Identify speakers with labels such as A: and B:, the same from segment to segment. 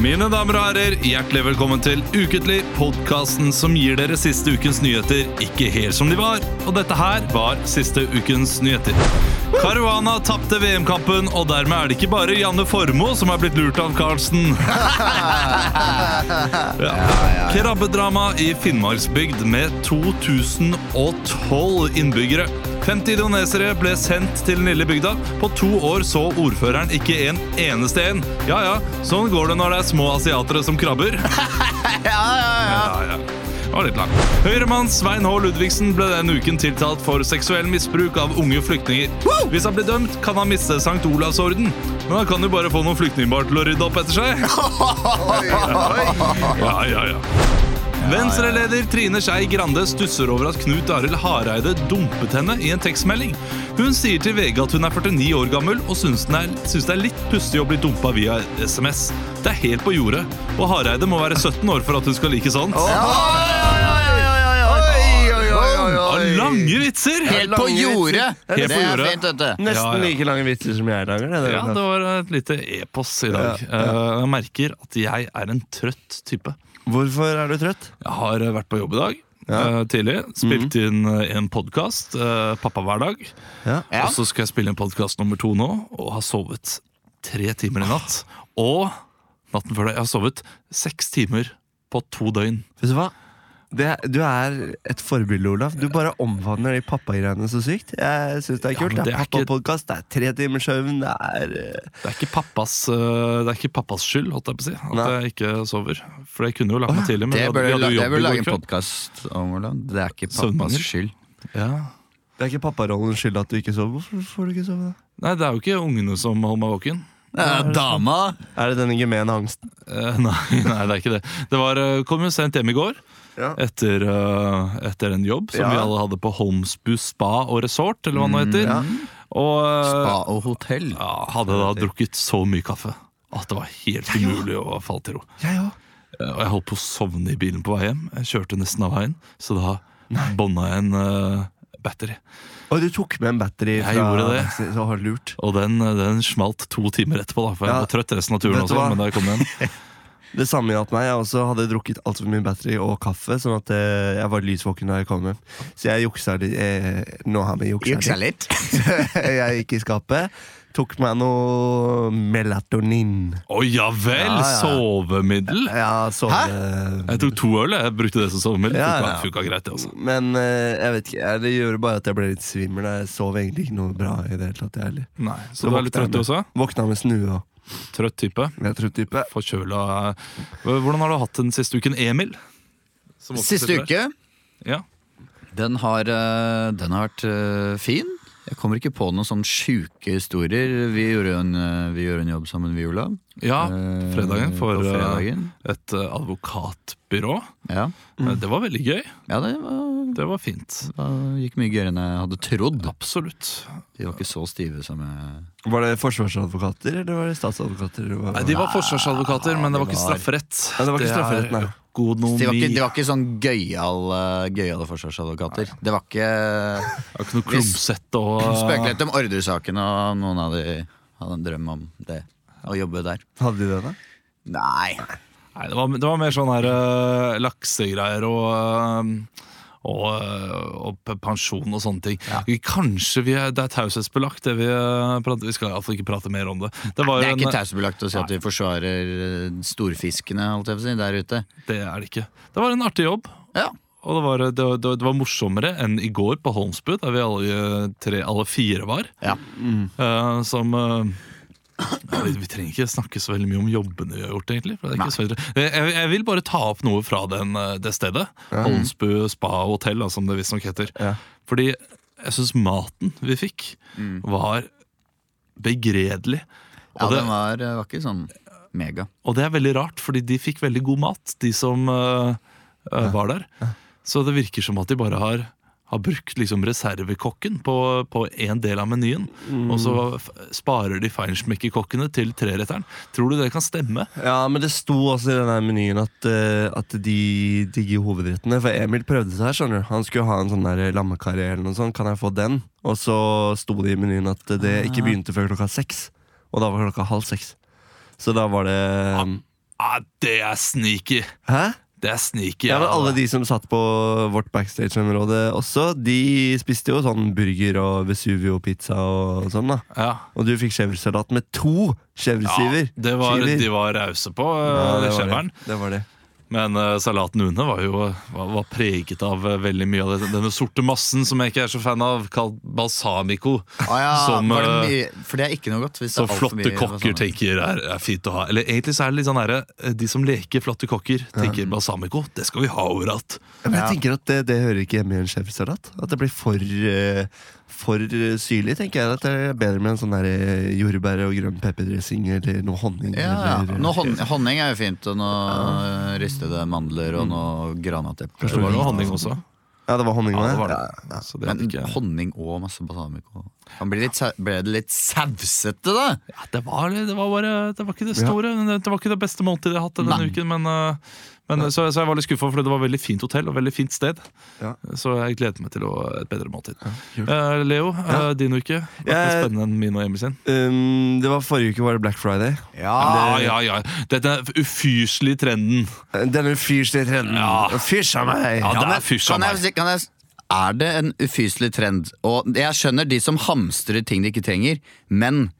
A: Mine damer og herrer, hjertelig velkommen til Uketlig, podkasten som gir dere siste ukens nyheter ikke helt som de var. Og dette her var siste ukens nyheter. Caruana tapte VM-kampen, og dermed er det ikke bare Janne Formoe som er blitt lurt av Carlsen. ja. Krabbedrama i Finnmarksbygd med 2012 innbyggere. 50 indonesere ble sendt til den lille bygda. På to år så ordføreren ikke en eneste en. Ja ja, sånn går det når det er små asiatere som krabber. Ja, ja. Det var litt langt. Høyremann Svein H. Ludvigsen ble denne uken tiltalt for seksuell misbruk av unge flyktninger. Hvis han blir dømt, kan han miste St. Olavs orden. Men han kan jo bare få noen flyktningbarn til å rydde opp etter seg. Ja, ja, ja. Venstre-leder Trine Skei Grande stusser over at Knut Arild Hareide dumpet henne i en tekstmelding. Hun sier til VG at hun er 49 år gammel og syns, den er, syns det er litt pussig å bli dumpa via SMS. Det er helt på jordet. Og Hareide må være 17 år for at hun skal like sånt. Ja, lange vitser!
B: Helt på jordet!
A: Helt på
B: Det er
A: jordet.
B: fint, dette.
A: Ja, ja.
C: Nesten like lange vitser som jeg lager. Det, det
A: Ja, det var et lite epos i dag. Eh, Jeg merker at jeg er en trøtt type.
C: Hvorfor er du trøtt?
A: Jeg har eh, vært på jobb i dag
C: Ja. Mhm.
A: eh, tidlig. Spilt inn eh, en podkast. Pappa hver dag.
B: Ja.
A: Og så skal jeg spille inn podkast nummer to nå, og har sovet tre timer i natt. Og natten før det. Jeg har sovet seks timer på to døgn.
C: Vet du hva? Det, du er et forbilde, Olav. Du bare omfavner de pappagreiene så sykt. Jeg synes Det er
A: Ja,
C: kult.
A: men
C: det
A: det er
C: er
A: ikke-
C: pappapodkast, det er tre timers søvn, det er eh,
A: Det er ikke pappas, eh, det er ikke pappas skyld holdt jeg på å si, at
C: Nei.
A: jeg ikke sover. For jeg kunne jo lagt meg tidlig, men
B: Det
A: jeg hadde-
B: bør
A: vi
B: du
A: hadde jo jobb i
B: lage
A: går
B: en
A: kveld.
B: podkast om, Olav. Det er ikke
A: Søvnmangel.
B: pappas skyld.
A: Ja.
C: Det er ikke papparollens skyld at du ikke sover. Hvorfor får du ikke sove? da?
A: Nei, det er jo ikke ungene som holder meg våken.
B: Det er dama!
C: Er det denne gemene angsten?
A: Eh, nei, nei, det er ikke det. Det var, eh, kom jo sent hjem i går.
C: Ja.
A: Etter, eh, etter en jobb som
C: Ja. Mm,
A: vi alle hadde på Holmsbu spa og resort, eller hva det nå heter. Og eh,
B: Spa og hotell.
A: ja, hadde da drukket så mye kaffe at det var helt umulig å falle til ro.
C: Jeg òg.
A: Eh, Og jeg holdt på å sovne i bilen på vei hjem. Jeg kjørte nesten av veien, så da bånda jeg en eh, battery.
C: Og du tok med en battery
A: Jeg gjorde det.
C: taxi, Så har lurt.
A: Og den, eh, den smalt to timer etterpå, da, for jeg
C: Ja.
A: var trøtt resten av turen
C: Vet du
A: også.
C: hva?
A: Men da jeg kom hjem
C: Det samme gjaldt meg. Jeg også hadde drukket altfor mye battery og kaffe, sånn at eh, jeg var lysvåken da jeg kom hjem. Så jeg juksa litt. Eh, nå har vi juksa litt.
B: litt.
C: jeg gikk i skapet, tok meg noe melatonin.
A: Å ja vel!
C: Ja, ja.
A: Sovemiddel!
C: Ja, eh, så
A: Jeg tok to øl, jeg brukte det som sovemiddel.
C: Ja,
A: Funka-
C: ja.
A: Funka greit, det også.
C: Men eh, jeg vet ikke, det gjorde bare at jeg ble litt svimmel. da. Jeg sov egentlig ikke noe bra i det hele tatt. jeg heller.
A: Nei, så,
C: Så
A: du er litt
C: våkna jeg
A: trøtt du
C: med-
A: også?
C: Våkna med snue og
A: Trøtt type.
C: jeg tror type.
A: Forkjøla. Hvordan har du hatt den siste uken, Emil? Som også
B: Siste
A: sitter der.
B: uke,
A: Ja.
B: den har, eh, den har vært eh, fin. Jeg kommer ikke på noen sånn sjuke historier. Vi gjorde en, eh, vi gjorde en jobb sammen, vi, Olav.
A: ja,
B: Eh,
A: fredagen for
B: på
A: eh,
B: fredagen.
A: et eh, advokatbyrå.
B: Ja.
A: Eh, Det var veldig gøy.
B: ja, det var,
A: Det var fint.
B: det gikk mye gøyere enn jeg hadde trodd.
A: Absolutt.
B: De var ikke så stive som eh, jeg
C: Var det forsvarsadvokater eller var det statsadvokater? eller hva-
A: Nei, De var forsvarsadvokater, men det var ikke
B: det var-
A: strafferett.
C: Nei, det var ikke
A: er
C: strafferett, nei.
A: Økonomi.
B: De var ikke, de var ikke sånn gøyale gøyal forsvarsadvokater. Det var ikke
A: Det var ikke noe klumsete og
B: Spøker litt om Ordersaken, og noen av de hadde en drøm om det. Å jobbe der.
C: Hadde de det, da?
B: Nei.
A: Nei, det var, det var mer sånn her øh, laksegreier og øh, og, øh, og p- pensjon og sånne ting. Vi- Kanskje vi er, det er taushetsbelagt, det vi øh, prater Vi skal iallfall ikke prate mer om det. Det, var
B: Det
A: jo
B: er ikke
A: en,
B: tausebelagt å si at de forsvarer eh, storfiskene holdt jeg på å si, der ute.
A: det er det ikke. Det var en artig jobb.
B: Ja.
A: Og det var, det, var- det, var- det var morsommere enn i går på Holmsbu, der vi alle, tre, alle fire var.
B: ja.
A: Eh, som eh, ja, vi, vi trenger ikke snakke så veldig mye om jobbene vi har gjort, egentlig. For det er ikke så veldig, Eh, jeg, jeg vil bare ta opp noe fra den, eh, det stedet. Holmsbu spa og hotell, da, som det visstnok heter.
C: Ja.
A: Fordi jeg syns maten vi fikk, var begredelig.
B: ja
A: Og det,
B: den var, eh, var ikke sånn mega.
A: og det er veldig rart, fordi de fikk veldig god mat, de som eh, eh, var der. Så det virker som at de bare har har brukt liksom reservekokken på, på en del av menyen.
C: Mm.
A: Og så f- sparer de feinschmecker-kokkene til treretteren. Tror du det kan stemme?
C: Ja, men det sto også i den der menyen at, eh, at de digger hovedrettene. For Emil prøvde seg her, skjønner du. Han skulle ha en sånn der lammekarri eller noe sånt. Kan jeg få den? Og så sto det i menyen at
A: Ah.
C: det ikke begynte før klokka seks. Og da var klokka halv seks. Så da var det
A: Ah, det er sneaky!
C: um, Hæ?
A: Det er sneaky.
C: Ja, men Alle de som satt på vårt backstage-område også, de spiste jo sånn burger og Vesuvio-pizza og sånn, da.
A: ja.
C: Og du fikk chèvresalat med
A: Ja,
C: to chèvresiver.
A: det var,
C: Skiver.
A: de var rause på
C: Ja,
A: uh,
C: det var
A: skjeveren.
C: det. det var det.
A: Men eh, salaten Une var jo var, var preget av eh, veldig mye av det, denne sorte massen som jeg ikke er så fan av, kalt balsamico.
B: Ah, ja,
A: Som,
B: var det
A: eh,
B: mye, for det er ikke noe godt. Hvis
A: Så
B: det er alt for
A: flotte
B: mye
A: kokker
B: balsamico.
A: tenker er, er fint å ha. Eller egentlig så er det litt sånn derre eh, De som leker flotte kokker, tenker balsamico. Det skal vi ha overalt.
C: Ja, Men jeg
B: Ja.
C: tenker at det, det hører ikke hjemme i en chèvresalat. At det blir for, eh, for eh, syrlig, tenker jeg. At det er bedre med en sånn der eh, jordbær og grønn pepperdressing eller noe honning.
B: Ja, ja.
C: eller-
B: Noe hon, honning er jo fint, og noe eh, ristede mandler og noe granateple.
A: Det var noe honning også.
C: ja, det var honning
A: Ja,
C: òg.
A: det
C: Ja,
A: var det. Så det,
B: Men
A: er ikke,
B: honning og masse balsamico Kan bli litt, sa- Ble det litt sausete, da?
A: ja, det, var, det var bare Det var ikke det store. Det, det var ikke det beste måltidet jeg har hatt denne
B: Nei.
A: uken. Men, eh, men, så, så jeg var litt skuffa, for det var veldig fint hotell og veldig fint sted.
C: Ja.
A: Så jeg gleder meg til å, et bedre måltid.
C: kult.
A: Eh, Leo, eh, din uke. Vært mer
C: Jeg-
A: spennende enn min og Emil sin.
C: Um, det var Forrige uke var det Black Friday.
B: Ja,
C: Ah,
A: Ja, ja, ja. Dette er ufyselige trenden.
C: Denne fyrslige trenden.
A: Ja.
C: Fysj av meg!
A: Ja,
B: Ja,
A: det
B: men
A: er fysj av
B: kan jeg
A: meg.
B: si- kan jeg s- Er det en ufyselig trend? Og jeg skjønner de som hamstrer ting de ikke trenger, men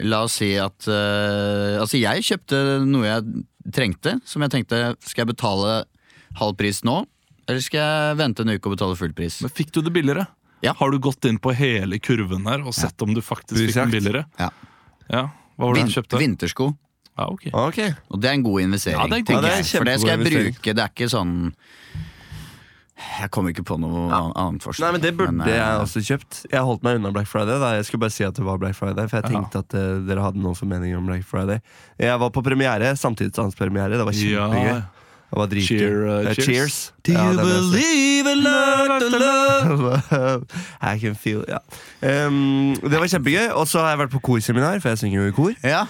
B: la oss si at eh, Altså, jeg kjøpte noe jeg trengte, som jeg tenkte skal jeg betale halv pris nå? Eller skal jeg vente en uke og betale full pris?
A: Men fikk du det billigere?
B: Ja.
A: Har du gått inn på hele kurven her og sett om du faktisk fikk
C: Prisjakt.
A: den billigere?
B: Ja.
A: Ja. Hva var det du
B: Vin-
A: kjøpte?
B: Vintersko.
A: Ja, ok.
C: Ok.
B: Og det er en god investering.
A: Ja, det er en god
B: tenker
A: investering.
B: jeg. For det skal jeg
C: Kjempegod investering.
B: bruke. Det er ikke sånn Jeg kommer ikke på noe an- annet
C: Nei,
B: forslag.
C: men Det burde
B: Men, eh,
C: jeg altså. også kjøpt. Jeg holdt meg unna Black Friday. Da. Jeg skulle bare si at det var Black Friday For jeg tenkte at eh, dere hadde noen formeninger om Black Friday. Jeg var på premiere, samtidsdanspremiere. Det var kjempegøy.
A: Ja.
C: Det var dritgøy.
A: Cheer, uh,
C: Eh,
A: cheers.
C: cheers.
A: Do
C: Ja,
A: you
C: den er søt.
A: believe in love, the love?
C: I can feel ja. Em, Det var kjempegøy. Og så har jeg vært på korseminar, for jeg synger jo i kor.
B: Ja.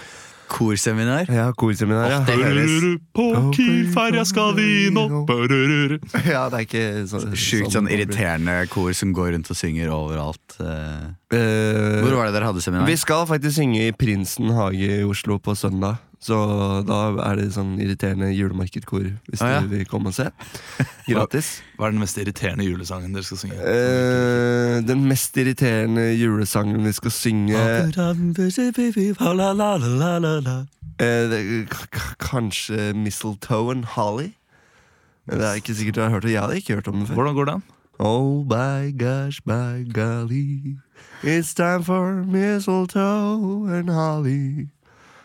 B: Korseminar.
C: Ja, korseminar, ja.
B: Åh, det høres-
A: Rururu, På Kielferja skal vi nå Rururu.
C: ja, det er ikke så,
B: Sjukt sånn irriterende kor som går rundt og synger overalt. eh.
C: Eh,
B: Hvor var det dere hadde seminar?
C: Vi skal faktisk synge i Prinsen hage i Oslo på søndag. Så da er det sånn irriterende julemarkedkor, hvis
B: Ah, ja.
C: du vil komme og se. Gratis.
A: Hva er den mest irriterende julesangen dere skal synge?
C: Eh, den mest irriterende julesangen vi skal synge eh, det- k- k- Kanskje 'Mistletoe and Holly'? Men Det er ikke sikkert du har hørt det. Jeg hadde ikke hørt om den før.
A: Hvordan går den?
C: Oh by gosh, by golly, it's time for mistletoe and holly.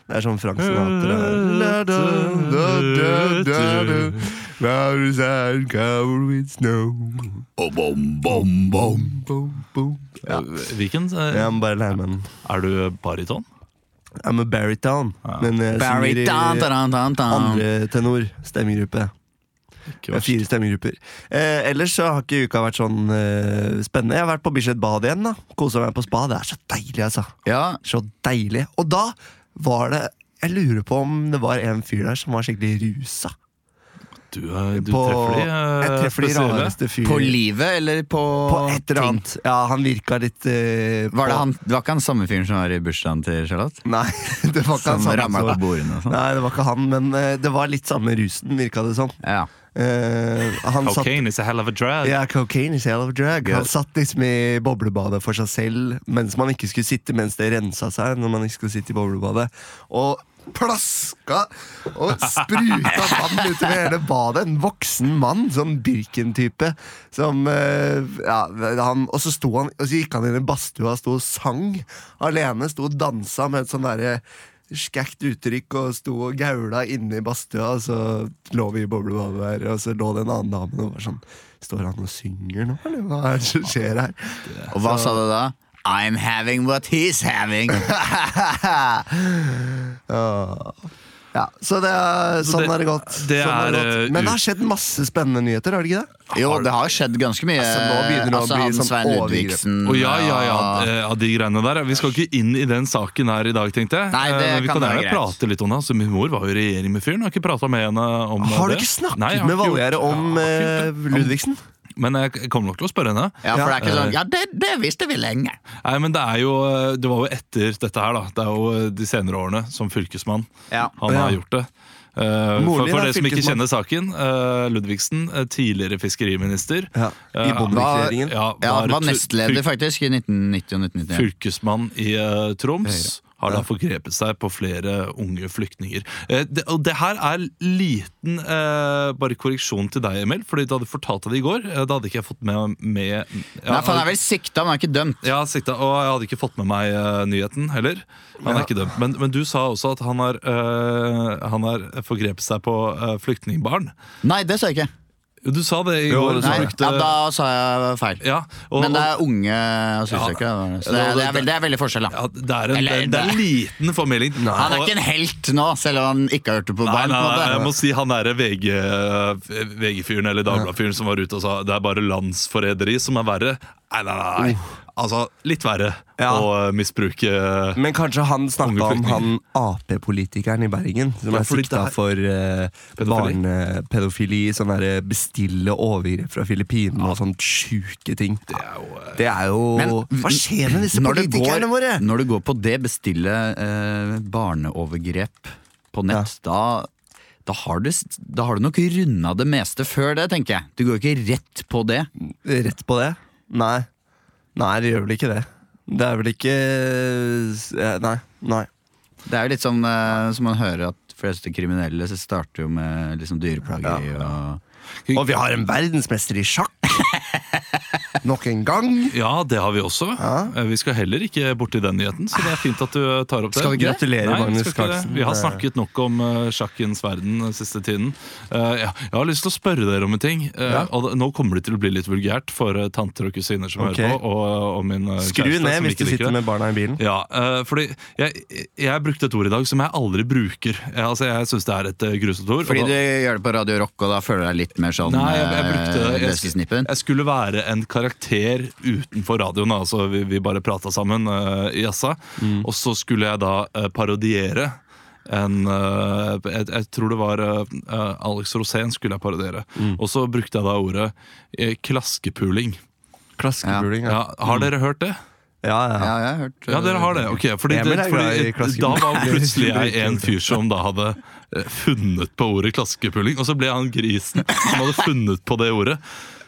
C: Det er sånn Frank Sinatra. La, da, da, da, da, da. Flowers are covered with snow.
B: Oh, bom, bom, bom.
C: Boom, boom. Ja.
A: Hvilken? eh,
C: Jeg må bare lære meg den.
A: Er du bariton?
C: I'm a baritone, men jeg synger
B: Baryton,
C: i
B: taran, taran, taran.
C: andre tenor. Stemmegruppe.
A: Ikke
C: Det er
A: verst.
C: fire stemmegrupper. Eh, ellers så har ikke uka vært sånn eh, spennende. Jeg har vært på Bislett Bad igjen. da Kosa meg på spa. Det er så deilig, altså.
B: Ja,
C: Så deilig. Og da var det Jeg lurer på om det var en fyr der som var skikkelig rusa.
A: Du, eh, du
C: på,
A: treffer de eh,
C: jeg treffer de
A: spesielle.
C: rareste fyr
B: på livet eller på,
C: På et eller
B: ting?
C: annet. Ja, han virka litt eh,
B: Var, det
C: på-
B: han, var ikke han samme fyren som var i bursdagen til Charlotte?
C: Nei, det var ikke
B: Som
C: han samme
B: ramla
C: som-
B: på bordene og sånn?
C: Nei, det var ikke han, men eh, det var litt samme rusen, virka det som.
B: Ja.
C: Eh, han satt
A: Cocaine is a hell of a drug.
C: Ja, cocaine is a hell of a drug. Han satt liksom i boblebadet for seg selv mens man ikke skulle sitte, mens det rensa seg når man ikke skulle sitte i boblebadet. Og plaska og spruta vann utover hele badet. En voksen mann, sånn Birken-type. Som eh, Ja, han Og så sto han Og så gikk han inn i badstua og sto og sang alene. Sto og dansa med et sånn derre skækt uttrykk og sto og gaula inne i badstua, og så lå vi i boblebadet der, og så lå det en annen dame og var sånn Står han og synger nå, eller hva er det som skjer her?
B: Og hva sa du da? I'm having what he's having.
C: Åh. Ja, så det er,
A: Så Altså,
C: sånn
A: det-
C: har det gått.
A: det
C: sånn har det
A: er,
C: gått.
A: eh,
C: Men det
A: ut-
C: har skjedd masse spennende nyheter, har det ikke det?
B: Jo, det har skjedd ganske mye.
C: Altså, nå begynner det å bli
B: han
C: sånn
B: Svein
C: overgrep.
B: Ludvigsen
A: Å, ja, ja,
C: Mm.
A: ja,
B: og-
A: eh, av de greiene der. Vi skal ikke inn i den saken her i dag, tenkte jeg.
B: Nei, det
A: Eh, men vi
B: kan
A: kan
B: være
A: gjerne
B: greit.
A: prate litt om det. Altså, min mor var jo i regjering med fyren. Jeg Har ikke prata med henne om det.
C: Har du ikke snakket
A: Nei, jeg har
C: med
A: ikke gjort-
C: Valgjerde om
A: Ja, jeg har ikke
C: eh,
A: gjort det.
C: Ludvigsen?
A: men jeg kommer nok til å spørre henne.
B: Ja, for det er ikke
A: eh.
B: sånn Ja, det, det visste vi lenge.
A: Nei, men det er jo eh, Det var jo etter dette her, da. Det er jo eh, de senere årene som fylkesmann
B: Ja.
A: han
C: Ja.
A: har gjort det. Eh,
C: Moren
A: for
C: din
A: for
C: er
A: dere som ikke
C: fylkesmann.
A: kjenner saken, eh, Ludvigsen, eh, tidligere fiskeriminister.
C: Ja, I
A: Eh,
C: Bondevik-regjeringen.
A: Ja,
B: Ja, han var
A: tu-
B: nestleder
A: fyl-
B: faktisk i 1990 og 1991.
A: fylkesmann i eh, Troms. Har da forgrepet seg på flere unge flyktninger. Eh, det, og det her er liten eh, bare korreksjon til deg, Emil, Fordi du hadde fortalt deg det i går. Eh, da hadde ikke jeg fått med, med ja,
B: Nei, for han er vel sikta, men han er ikke dømt.
A: Ja, sikta, og jeg hadde ikke fått med meg eh, nyheten heller. Han er ikke dømt, men, men du sa også at han har, eh, han har forgrepet seg på eh, flyktningbarn.
B: Nei, det sa jeg ikke.
A: Du sa det i
C: Jo,
A: går.
C: det
A: så
B: Nei,
A: brukte-
B: ja, da sa jeg feil.
A: ja, og,
B: Men det er unge asylsøkere. da. Så det,
A: Ja,
B: er-
A: det-
B: det, er veldig, det er veldig forskjell, da.
A: ja, det er en,
B: Eller-
A: det er- det er en liten formidling.
B: Han er
A: Og-
B: ikke en helt nå, selv om han ikke har hørt det på
A: Nei,
B: barn.
A: nei,
B: på en
A: nei,
B: måte.
A: jeg må si han derre VG, eh, VG-fyren eller Dagbladet-fyren som var ute og sa det er bare landsforræderi som er verre. Nei, nei, nei. Altså, litt verre
C: Oh. Ja.
A: å eh, misbruke eh,
C: Men kanskje han
A: Unge
C: snakka om
A: flyktninger.
C: han Ap-politikeren i Bergen, som
A: Ja,
C: er
A: fordi
C: sikta
A: det er-
C: for eh,
A: Pedofili.
C: barnepedofili, sånn derre bestille overgrep fra Filippinene og sånne sjuke ting.
A: Det er jo eh,
C: Det er jo
B: Men-
C: Hva skjer med disse
B: Når du går,
C: politikerne våre?
B: Når du går på det, bestille eh, barneovergrep på nett, da, da, har du, s- da har du nok runda det meste før det, tenker jeg. Du går ikke rett på det.
C: Rett på det? Nei. Nei, det gjør vel ikke det. Det er vel ikke eh, Nei. Nei.
B: Det er jo litt sånn eh, som man hører at de fleste kriminelle så starter jo med liksom dyreplageri og
C: Og vi har en verdensmester i sjakk! Nok en gang.
A: Ja, det har vi også. Eh, Vi skal heller ikke borti den nyheten, så det er fint at du eh, tar opp det.
C: Skal vi gratulere
A: Nei, vi
C: Magnus
A: skal ikke det.
C: Carlsen?
A: Vi har
C: Det-
A: snakket nok om eh, sjakkens verden den siste tiden. Eh, ja, Jeg har lyst til å spørre dere om en ting. Eh, Og det- nå kommer det til å bli litt vulgært for eh, tanter og kusiner som
C: Ok.
A: hører på, og, og min eh,
C: Skru
A: kjæreste
C: ned
A: som
C: hvis
A: ikke
C: du
A: liker det.
C: sitter med barna i bilen.
A: Ja, eh, fordi jeg, jeg brukte et ord i dag som jeg aldri bruker. Jeg, altså, jeg syns det er et eh, grusomt ord.
B: Fordi
A: og da-
B: du gjør det på Radio Rock, og da føler du deg litt mer sånn
A: Nei, jeg, jeg brukte
B: eh,
A: jeg,
B: leskesnippen.
A: jeg skulle være en karakter utenfor radioen. Altså, vi, vi bare prata sammen eh, i jazza. Og så skulle jeg da eh, parodiere en eh, jeg, jeg tror det var eh, eh, Alex Rosén skulle jeg parodiere. Og så brukte jeg da ordet eh, klaskepuling.
C: Klaskepuling.
A: Ja, har dere hørt det?
C: Ja, ja.
B: Ja, jeg har hørt
A: Ja, dere har det. ok fordi,
C: Emil
A: det,
C: er glad i
A: fordi
C: klaskepuling.
A: Da var plutselig jeg en fyr som da hadde eh, funnet på ordet klaskepulling, og så ble han grisen som hadde funnet på det ordet.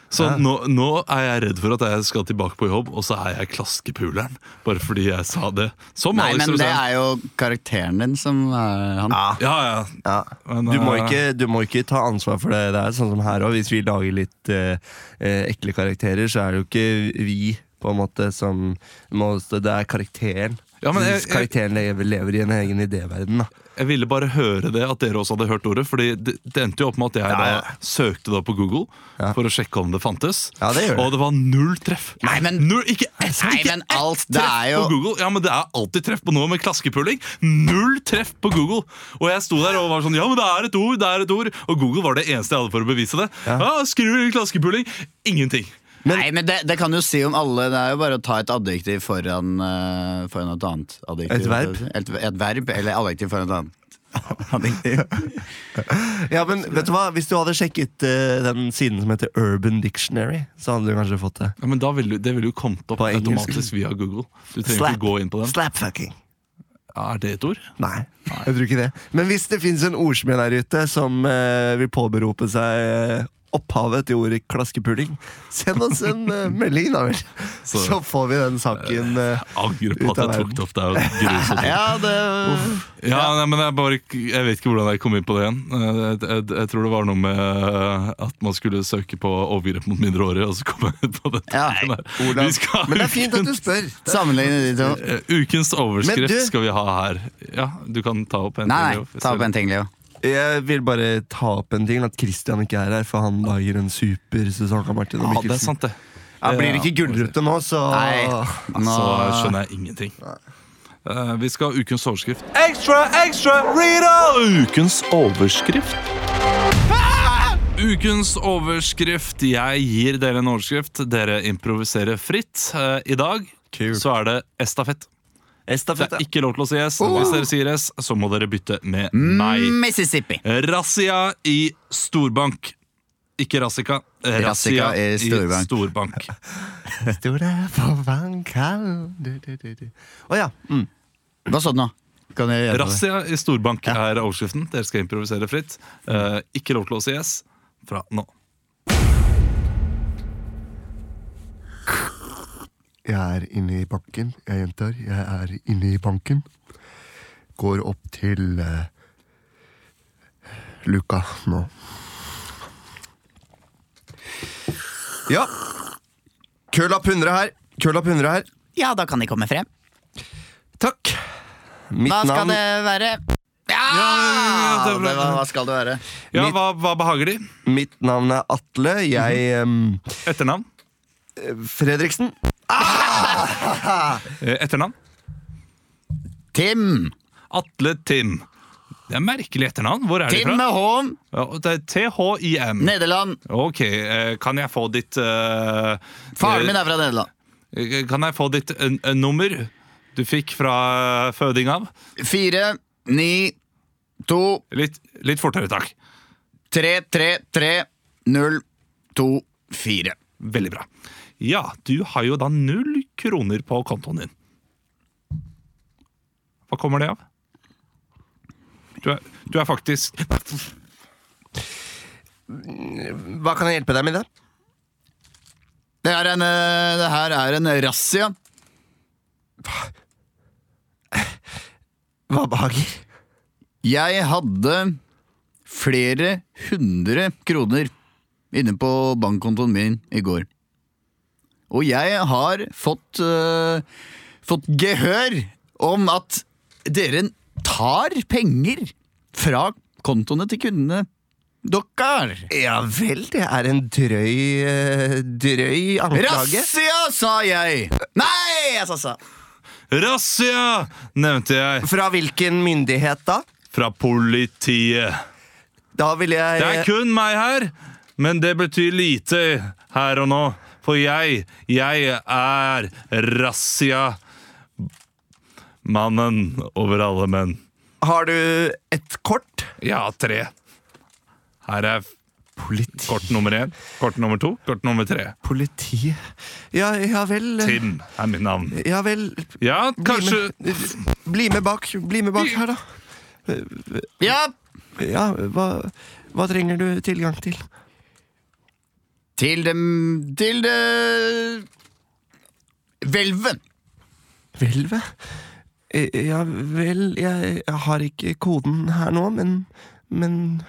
A: Så nå, nå er jeg redd for at jeg skal tilbake på jobb, og så er jeg klaskepuleren. Bare fordi jeg sa det. Som
B: eh, Nei,
A: Alex
B: men det
A: Rosén.
B: er jo karakteren din som er han.
C: Ja.
A: Ja, ja.
C: Ja.
A: Men,
C: Du må,
A: eh,
C: ikke, du må ikke ta ansvar for det der, sånn som her òg. Hvis vi lager litt eh, eh, ekle karakterer, så er det jo ikke vi på en måte som må Det er karakteren.
A: Ja, men jeg-
C: Hvis karakteren lever, lever i en egen idéverden. Da.
A: Jeg ville bare høre det, at dere også hadde hørt ordet. Fordi det, det endte jo opp med at jeg
C: Ja, ja.
A: da søkte da på Google
C: Ja.
A: for å sjekke om det fantes.
C: Ja, det gjør det.
A: Og det var null treff!
B: Nei, men-
A: null, ikke ett,
B: Nei,
A: ikke
B: men alt, det
A: treff
B: er jo
A: på Google. Ja, men det er alltid treff på noe med klaskepulling. Null treff på Google! Og jeg sto der og var sånn Ja, men det er et ord! det er et ord Og Google var det eneste jeg hadde for å bevise det. Ja, Skriv klaskepulling! Ingenting.
B: Nei, men det, det kan du si om alle. Det er jo bare å ta et adjektiv foran, eh, foran et annet adjektiv.
C: Et verb?
B: Et, et verb, eller adjektiv foran et annet adjektiv.
C: Ja, men vet du hva? Hvis du hadde sjekket eh, den siden som heter Urban Dictionary, så hadde du kanskje fått det.
A: Ja, men da ville, Det ville jo kommet opp
C: På engelsk.
A: automatisk via Google. Du trenger ikke gå inn på den.
C: Slapfucking.
A: Ja, er det et ord?
C: Nei, jeg tror ikke det. Men hvis det fins en ordsmed der ute som eh, vil påberope seg eh, opphavet til ordet klaskepuling, send oss en eh, melding, da vel. Så, får vi den saken. eh,
A: Angrer på
C: Ut
A: at
C: av
A: jeg tok
C: verden.
A: det opp. Det er jo grusomt.
B: Ja, det
A: Ja, Nei, men jeg, bare, jeg vet ikke hvordan jeg kom inn på det igjen. Eh, Jeg, jeg, jeg tror det var noe med eh, at man skulle søke på overgrep mot mindreårige, og så kom jeg på dette.
B: Ja,
A: her.
C: Olav.
A: Vi skal ha
C: Men det er fint at du
A: ukens-
C: spør.
B: Sammenligne de to.
A: eh, Ukens
C: Men
A: overskrift
C: du-
A: skal vi ha her. Ja, Du kan ta opp en.
B: Nei,
A: til,
B: nei,
A: Leo.
B: ta opp en ting, Leo.
C: Jeg vil bare ta opp en ting, at Christian ikke er her, for han lager en super sesong av Martin
A: Ja,
C: og
A: det er
C: Mikkelsen.
A: sant, det.
C: Ja, blir det ikke Gullrute nå, så
B: Nei. Nå,
A: Så skjønner jeg ingenting. Eh, Vi skal ha ukens overskrift.
D: Ekstra, ekstra, Rita! Ukens overskrift.
A: Ah! Ukens overskrift. Jeg gir dere en overskrift. Dere improviserer fritt. Eh, I dag så er det estafett. Det
C: Estafett,
A: er
C: ja.
A: ikke lov til å si
B: Oh.
A: S. Hvis dere sier S, så
B: Mm.
A: må dere bytte med meg.
B: Mississippi.
A: Razzia i storbank. Ikke Rassika. eh,
B: Rassika i Storbank.
A: Storbank.
C: Store forvankal Å ja. Mm.
B: Hva sa du nå? Kan jeg hjelpe deg?
A: Razzia i storbank er overskriften. Dere skal improvisere fritt. Eh, ikke lov til å si yes fra nå.
C: Jeg er inne i banken. Jeg gjentar, jeg er inne i banken. Går opp til eh, Luka nå. Ja. Kølapp 100 her. Kølapp 100 her.
B: Ja, da kan de komme frem.
C: Takk. Mitt
B: Hva skal
C: navn
B: det være?
A: ja,
B: Ja!
A: ja, det er bra.
B: det var, hva skal det være?
A: Ja,
C: Mitt-
A: hva, hva behager de?
C: Mitt navn er Atle. Jeg em,
A: Etternavn?
C: Fredriksen.
A: Eh, Etternavn?
B: Tim!
A: Atle Tim. Det er merkelig etternavn. Hvor er de
B: Tim
A: fra?
B: med H-en!
A: Ja, det er THIM.
B: Nederland.
A: Ok, eh, kan jeg få ditt eh,
B: Faren min
A: eh,
B: er fra Nederland.
A: Kan jeg få ditt eh, eh, nummer du fikk fra eh, føding av?
B: Fire, ni, to,
A: Litt, litt fortere, takk.
B: tre, tre, tre, null, to, fire.
A: Veldig bra. Ja, du har jo da null kroner på kontoen din. Hva kommer det av? Du er, du er faktisk
C: Hva kan jeg hjelpe deg med? det?
B: Det, er en, eh, det her er en razzia.
C: Hva behager?
B: Jeg hadde flere hundre kroner inne på bankkontoen min i går. Og jeg har fått, eh, fått gehør om at dere tar penger fra kontoene til kundene deres.
C: Ja vel, det er en drøy, eh, drøy anklage.
B: Razzia, sa jeg! Nei, jeg sa sa.
A: Razzia! nevnte jeg.
C: Fra hvilken myndighet da?
A: Fra politiet.
C: Da vil jeg
A: Det er kun meg her, men det betyr lite her og nå. For jeg, jeg er razzia-mannen over alle menn.
C: Har du et kort?
A: Ja, tre. Her er kort nummer én, kort nummer to, kort nummer tre.
C: Politi Ja, ja vel.
A: Tim er mitt navn.
C: Ja vel.
A: Ja, kanskje
C: Bli med, bli med bak. Bli med bak her, da.
B: Ja,
C: Ja, hva, hva trenger du tilgang til?
B: til dem Til det Hvelvet.
C: Hvelvet? Eh, Ja vel, jeg har ikke koden her nå, men Men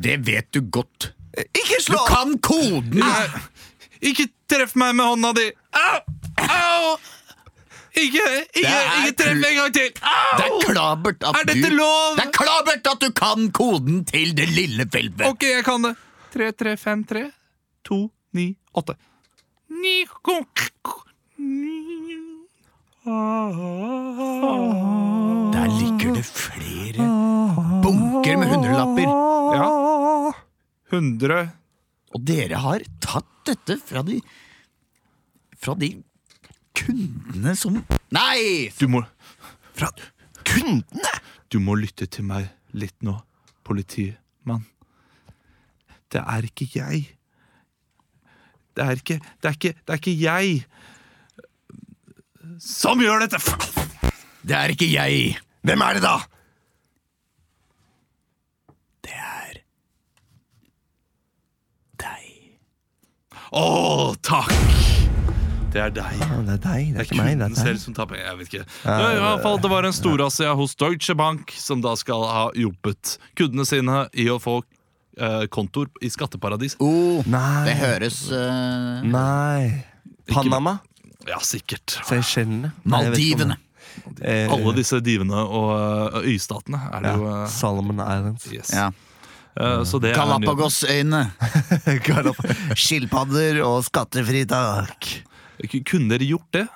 B: Det vet du godt.
C: Eh, Ikke
B: Du
C: slå!
B: kan koden!
A: Nei, Ikke treff meg med hånda di! Au! Au! Ikke, ikke,
B: er
A: ikke treff meg en gang til!
B: Det er
A: Au!
B: klabert at
A: Er dette
B: du,
A: lov?
B: Det er klabert at du kan koden til det lille hvelvet.
A: Ok, jeg kan det. 3, 3, 5, 3, 2, 9, 8. Ni, ko- ko- ni.
B: Der ligger det flere bunker med hundrelapper.
A: Ja. 100
B: Og dere har tatt dette fra de Fra de kundene som Nei!
A: Du må,
C: Fra kundene!
A: du må lytte til meg litt nå, politimann. Det er ikke jeg. Det er ikke Det er ikke, det er ikke jeg som gjør dette!
B: Det er ikke jeg.
C: Hvem er det, da?
B: Det er deg.
A: Å, takk! Det er deg.
C: Ja, det er deg, det er
A: Det er
C: ikke meg.
A: kunden
C: Det er
A: selv
C: deg.
A: som taper. Jeg vet ikke. Det, i hvert fall, det var en storrazzia hos Deutsche Bank som da skal ha jobbet kundene sine i å få eh, kontor i skatteparadis.
B: Oh, det
C: Nei.
B: høres eh,
C: Nei. Panama?
A: Ja, sikkert.
C: Seychellene? Nei, jeg vet ikke om
B: Maldivene.
C: det- Eh,
A: Alle disse divene og eh, øystatene er det jo
C: ja.
A: eh,
C: Solomon Islands.
A: Yes.
B: Ja.
A: Eh, så det er
B: Galapagosøyene.
C: Skilpadder og skattefritak.
A: nytt. Kunne dere gjort det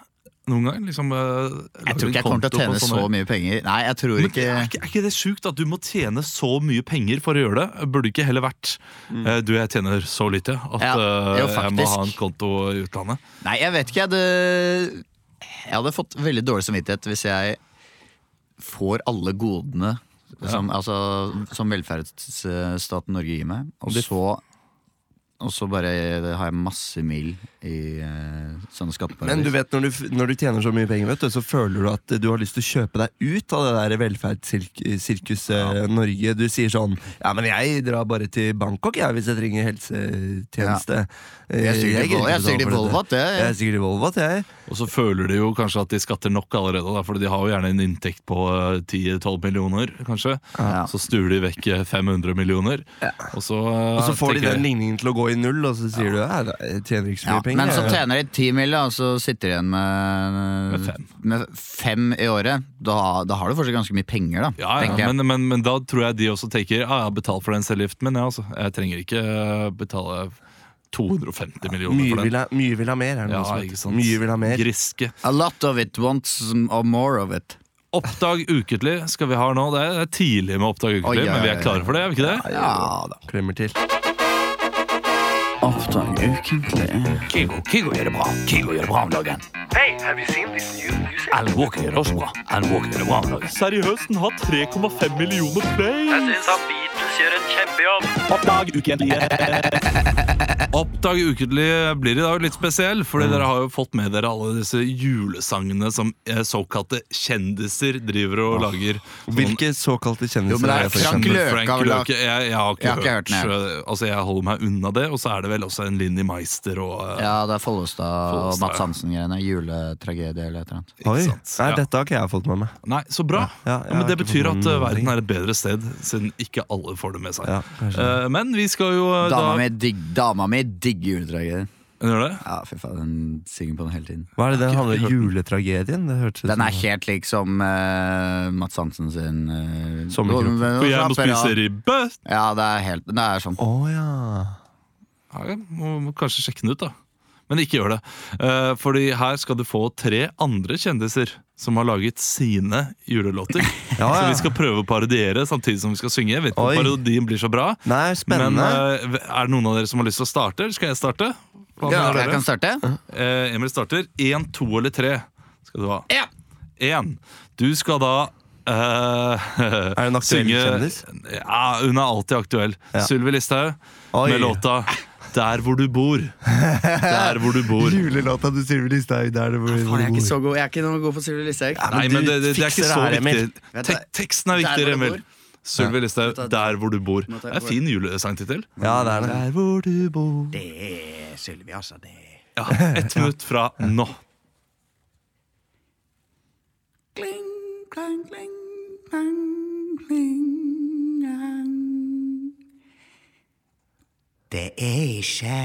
A: noen gang? Liksom,
B: Jeg tror ikke jeg kommer til å tjene så mye penger. Nei, jeg tror
A: Men er,
B: ikke
A: ikke, er ikke det sjukt at du må tjene så mye penger for å gjøre det? Burde ikke heller vært eh, du, jeg tjener så lite at
B: Mm. Ja,
A: eh,
B: jo,
A: jeg må ha en
B: faktisk.
A: konto i utlandet.
B: Nei, jeg vet ikke. Jeg hadde, jeg hadde fått veldig dårlig samvittighet hvis jeg får alle godene som, altså, som velferdsstaten Norge gir meg, og så og så bare har jeg masse mil i eh, sånne skatteparadis.
C: Men du vet, når du, f- når du tjener så mye penger, vet du, så føler du at du har lyst til å kjøpe deg ut av det der velferdssirkuset Norge. Du sier sånn Ja, men jeg drar bare til Bangkok jeg, hvis jeg trenger helsetjeneste. Eh,
B: Jeg er sikkert i
C: gidder
B: Vol- jeg er
C: ikke betale
B: sikkert i
C: for dette.
B: Volvat, jeg.
C: Jeg er sikkert i Volvat, jeg.
A: Og så føler de jo kanskje at de skatter nok allerede, da, for de har jo gjerne en inntekt på eh, 10-12 millioner, kanskje.
B: Ja.
A: Så stuer de vekk eh, 500 millioner, og så, eh,
C: Og så får de
A: tenker
C: den
A: jeg,
C: ligningen til å gå i null, og så sier du ja, jeg tjener ikke så
B: ja,
C: mye penger.
B: men så
C: jeg».
B: tjener de ti mil, da, og så sitter de igjen med,
A: Med fem.
B: med fem i året. Da, da har du fortsatt ganske mye penger, da.
A: ja,
B: tenker
A: ja,
B: jeg.
A: men, men, men da tror jeg de også tenker ah, jeg betaler for den cellegiften min, jeg, altså. Jeg trenger ikke eh, betale 250 millioner
C: mye,
A: for den.
C: vil ha, mye vil ha mer, er det
A: Ja,
C: noe som
A: ikke
C: heter.
A: sant?
C: Mye vil ha mer.
A: Griske.
B: A lot of it wants or more of it.
A: Oppdag ukentlig skal vi ha nå. Det er det er tidlig med Oppdag ukentlig,
B: Oi, ja, ja,
A: men vi
B: ja,
A: er klare for det, er vi ikke det?
B: Ja da.
C: Klemmer til.
B: Oppdag ukentlig.
E: Kigo, Kigo gjør det bra. Kigo gjør det bra om dagen. Alan Walker gjør det også bra. Alan Walker gjør det bra om dagen.
A: Seriøst, den har 3,5 millioner play!
D: Oppdag ukentlige.
A: Oppdag ukentlig blir i dag litt spesiell,
C: Mm.
A: fordi dere har jo fått med dere alle disse julesangene som eh, såkalte kjendiser driver og lager. Sånn-
C: Hvilke såkalte
B: Jo, men
C: kjendiser
B: det er
C: er det? for
B: Frank
C: eksempel?
B: Løke
A: Frank
B: har vel lagt-
A: Løke. Jeg, jeg har ikke,
B: Jeg har ikke hørt
A: hørt,
B: den, jeg.
A: eh, Altså, jeg holder meg unna det. Og så er det vel også en Linni Meister og eh,
B: Ja, det er Follestad og
A: Follestad,
B: Mats
A: ja.
B: Hansen-greiene. Juletragedie eller et eller annet.
C: Oi,
A: ikke sant?
C: Nei,
A: Ja.
C: dette har ikke jeg fått med meg.
A: Nei, så bra.
C: Ja, ja,
A: Ja,
C: jeg
A: men
C: har
A: det
C: ikke
A: betyr
C: fått
A: at
C: noen
A: eh, verden
C: ting.
A: er et bedre sted, siden ikke alle får det med seg.
C: Ja, kanskje.
A: Eh, men vi skal jo eh,
B: Dama
A: da
B: mi digg- dama mi digger juletragedier.
A: Gjør det?
B: Ja, fy faen, hun synger på den hele tiden.
C: Hva er det den handler
A: hørt
C: om? Juletragedien? Det hørtes
B: Den
C: ut som-
B: er helt lik som eh, Mats Hansen sin uh,
C: Sommerkroppen.
A: For jeg må spise ribbe!
B: Ja, det er helt Det er sånn.
C: Å ja.
A: Ja, jeg må, må kanskje sjekke den ut, da. Men ikke gjør det. Eh, fordi her skal du få tre andre kjendiser som har laget sine julelåter.
C: Ja, ja.
A: Som vi skal prøve å parodiere samtidig som vi skal synge. Jeg vet ikke om
C: Oi.
A: parodien blir så bra.
C: Nei,
A: Men
C: spennende.
A: eh, er det noen av dere som har lyst til å starte? Eller skal jeg starte? Hva
B: Ja,
A: mener
B: jeg
A: dere?
B: kan starte.
A: Eh, Emil starter. Én, to eller tre skal du ha. Én. Du skal da eh,
C: Er hun aktuell
A: synge-
C: kjendis?
A: Ja, hun er alltid aktuell. Sylvi Listhaug
C: Oi.
A: med låta 'Der hvor du bor'. Der hvor du bor.
C: Julelåta til Sylvi Listhaug. Der det hvor hvor du bor.
B: god. Jeg er ikke noe god for Sylvi Listhaug.
C: Ja,
A: Nei, men
C: du
A: det, det, det er
C: fikser
A: ikke så
C: her, Emil.
A: viktig.
B: Vent
A: Tek
B: da.
A: teksten er
B: Der hvor
A: viktigere,
B: du
A: Emil.
B: bor.
A: Sylvi Listhaug,
B: Nå tar jeg-
A: 'Der hvor du bor'.
B: Nå tar
A: Det
B: jeg
A: er fin julesangtittel.
C: Ja, det er det. Der hvor du bor.
B: Det er Sylvi, altså. Det er
A: Ja, Ett minutt fra nå.
B: Kling, klang, kling, klang, kling, klang. Det er ikke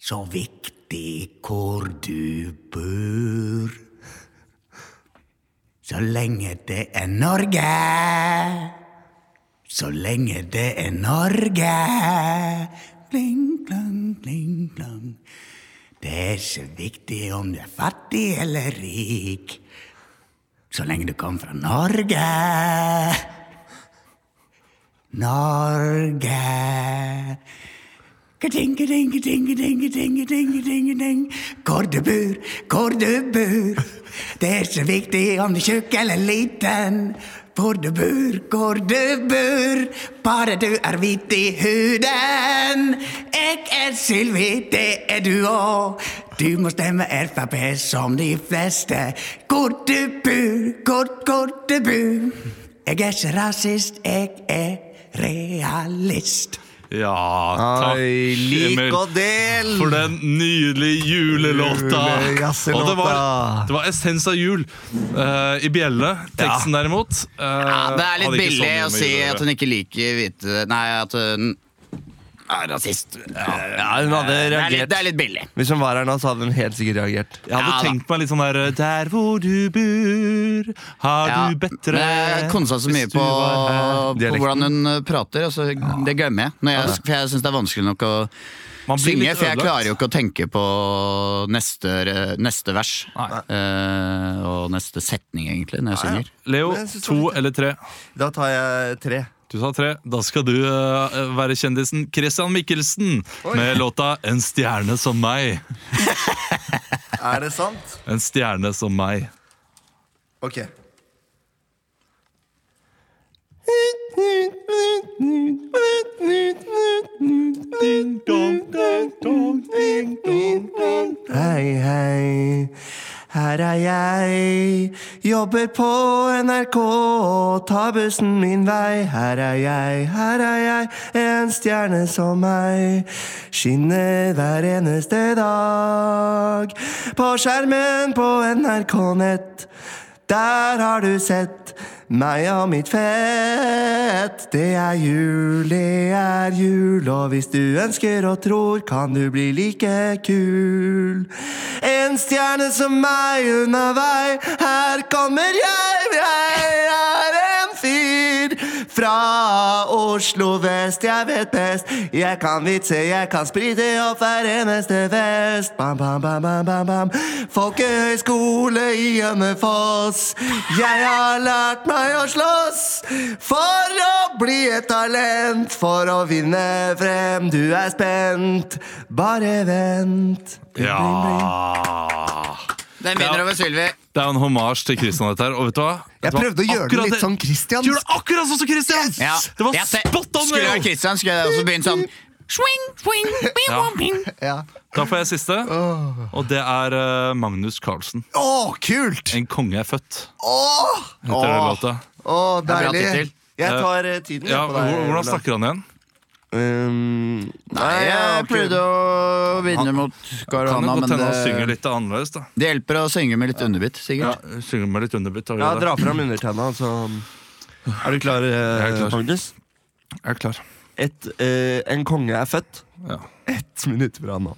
B: så viktig hvor du bor, så lenge det er Norge. Så lenge det er Norge. Kling, klang, kling, klang. Det er ikke viktig om du er fattig eller rik, så lenge du kommer fra Norge. Norge. Ka-ting, ka-ting, ka-ting, ka-ting, ka-ting, ka-ting, ka-ting, ka-ting. Hvor du bor, hvor du bor. Det er ikke viktig om du er tjukk eller liten. Hvor du bor, hvor du bor. Bare du er hvit i huden. Jeg er Sylvi, det er du òg. Du må stemme Frp som de fleste. Hvor du bor, hvor, hvor du bor. Jeg er ikke rasist, jeg er realist.
A: Ja, takk,
C: Ai, lik
A: Emil.
C: og del!
A: For den nydelige julelåta.
C: Julejazzelåta.
A: Og det var, det var essens av jul eh, i bjelle. Teksten derimot eh,
B: Ja, det er litt
A: hadde ikke så mye
B: billig sånn å
A: med jul å
B: si at
A: gjøre.
B: hun ikke liker hvite Nei, at hun er rasist. Ja,
C: Ja, hun hadde
B: det, er litt,
C: reagert.
B: det er litt billig.
C: Hvis hun var her nå, så hadde hun helt sikkert reagert.
A: Jeg hadde
B: Ja, da.
A: tenkt meg litt sånn der Der hvor du bor, har
B: Ja,
A: du bedre
B: men jeg konsa så mye
A: Hvis du
B: på,
A: var her.
B: på
C: Dialekten.
B: hvordan hun eh, prater. Altså, det glemmer jeg. Når jeg for jeg syns det er vanskelig nok å
A: Man blir
B: synge,
A: litt
B: for jeg
A: ødelagt.
B: klarer jo ikke å tenke på neste, re- neste vers.
A: Nei.
B: Eh, og neste setning, egentlig, når jeg synger.
A: Leo,
C: Men jeg synes det
A: to
C: var litt-
A: eller tre?
C: Da tar jeg tre.
A: Du sa tre. Da skal du eh, være kjendisen Christian Mikkelsen med låta 'En stjerne som meg'.
C: Er det sant?
A: En stjerne som meg.
C: Ok. jobber på NRK og tar bussen min vei. Her er jeg, her er jeg, en stjerne som meg. Skinner hver eneste dag. På skjermen på NRK Nett, der har du sett meg og mitt fett. Det er jul, det er jul, og hvis du ønsker og tror, kan du bli like kul. En stjerne som meg unna vei, her kommer jeg, jeg er en fyr. Fra Oslo vest, jeg vet best. Jeg kan vitse, jeg kan sprite opp hver eneste vest. Bam, bam, bam, bam, bam, bam. Folkehøyskole i Hønefoss. Jeg har lært meg å slåss for å bli et talent. For å vinne frem, du er spent. Bare vent. Bling, bling, bling.
A: Ah. Ja
B: Den vinner over Sylvi.
A: Det er en hommage til Christian, dette her. Og vet du hva?
C: Jeg
A: Vet du hva?
C: prøvde å gjøre det
A: Akkurat
C: litt sånn Christian.
A: Du gjorde det akkurat sånn som Christian!
B: Ja.
A: Det var
B: Jeg ser-
A: spot on!
B: Skulle jeg
A: Leo!
B: vært Christian, skulle jeg også begynt sånn.
F: Swing, swing, bing,
A: Ja.
F: bong, bing.
C: Ja.
A: Da får jeg siste, og det er eh, Magnus Carlsen.
C: Å, kult!
A: En konge er født,
C: Åh,
A: heter den låta.
C: Å,
B: bra
C: deilig.
B: tittel.
C: Jeg tar eh, tiden
A: Ja,
C: jeg, på deg.
A: hvor- hvordan
C: Olav.
A: snakker han igjen?
C: Um, nei,
B: Jeg prøvde å vinne mot
A: Kan det
B: Caruana,
A: godt
B: men
A: hende han synger
B: det,
A: litt annerledes, da.
B: det hjelper å synge med litt underbitt,
A: Ja,
B: sikkert.
A: synger med litt underbitt.
C: Ja, dra fram undertenna, så Er du klar,
A: Jeg er
C: eh,
A: klar.
C: Magnus?
A: Jeg er klar.
C: Et, eh, en konge er født.
A: Ja.
C: Ett minutt fra nå.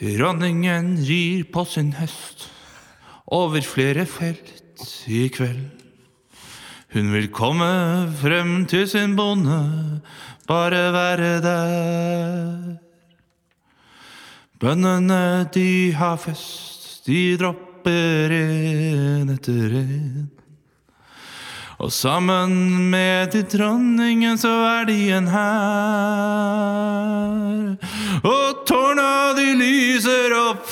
A: Dronningen rir på sin høst over flere felt i kveld. Hun vil komme frem til sin bonde, bare være der. Bøndene de har fest, de dropper en etter en. Og sammen med til dronningen så er de en hær. Og tårna de lyser opp,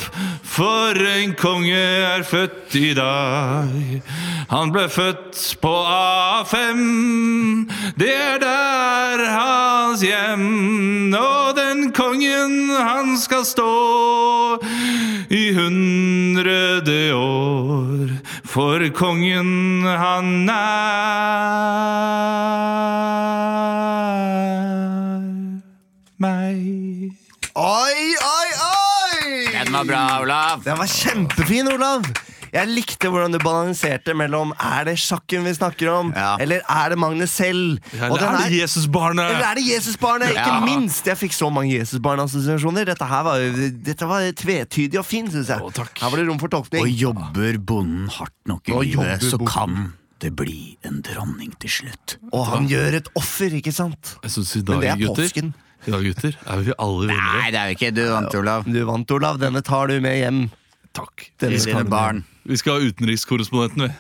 A: for en konge er født i dag. Han ble født på A5, det er der hans hjem. Og den kongen han skal stå i hundrede år, for kongen han er meg.
C: Oi, oi, oi!
B: Den var bra, Olav.
C: Den var kjempefin, Olav! Jeg likte hvordan du balanserte mellom er det sjakken vi snakker om,
B: Ja.
C: eller er det Magnus selv? Og den
A: Eller er
C: her-
A: det Jesusbarnet?
C: Eller er det Jesusbarnet? Ikke
B: Ja.
C: minst! Jeg fikk så mange Jesusbarn-assosiasjoner. Dette her var, dette var tvetydig og fin, syns jeg.
A: Å, takk.
C: Her var det rom for tolkning.
B: Og jobber bonden hardt nok i
C: Og
B: livet,
C: jobber
B: så
C: bonden.
B: kan det bli en dronning til slutt.
C: Og han gjør et offer, ikke sant?
A: Jeg synes i dag,
C: Men det er
A: gutter,
C: påsken.
A: i dag, gutter, er vi alle vinnere.
B: Nei, det er jo ikke du vant, Olav.
C: Du vant, Olav. Denne tar du med hjem.
A: Takk.
C: Denne
B: Til
C: skal
B: dine
C: du med.
B: barn.
A: Vi skal ha utenrikskorrespondenten, vi.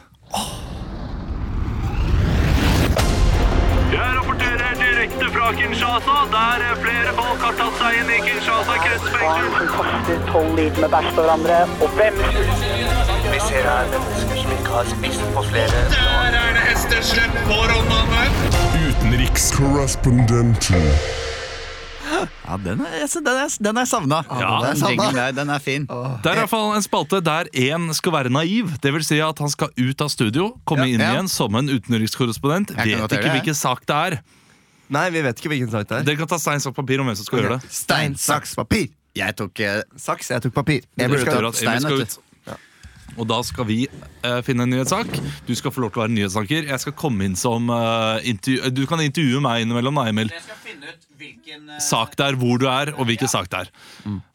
G: Jeg rapporterer direkte fra Kinshasa, der flere folk har tatt seg inn i Kinshasa kretsfengsel.
H: barn som kaster tolv liter med bæsj på hverandre, og hvem
I: Vi ser her mennesker som ikke har spist på flere
G: Der er det hesteslepp på Rondane.
J: Utenrikskorrespondenten.
B: Ja, den er, jeg- den er, den er savna.
A: Ja,
B: den,
C: den er savna.
B: jinglen der, den er fin.
A: Det er i hvert fall en spalte der én skal være naiv. Det vil si at han skal ut av studio, komme inn
B: ja.
A: igjen som en utenrikskorrespondent.
B: kan
A: Vet
B: godt gjøre
A: ikke
B: det.
A: hvilken sak det er.
C: Nei, vi vet ikke hvilken sak det er.
A: Dere kan ta stein, saks, papir om hvem som skal gjøre det.
C: Stein, saks, papir!
B: Jeg tok eh,
C: Saks. Jeg tok papir. Jeg
A: Dere
C: burde
A: tror
C: ta-
A: at Emil
B: stein,
A: skal
B: vet
A: ut. Og da skal vi eh, finne en nyhetssak. Du skal få lov til å være nyhetsanker. Jeg skal komme inn som eh, intervju... eh, Du kan intervjue meg innimellom, da, Emil.
I: Jeg skal finne ut hvilken
A: Sak det er, hvor du er, og hvilken sak det er.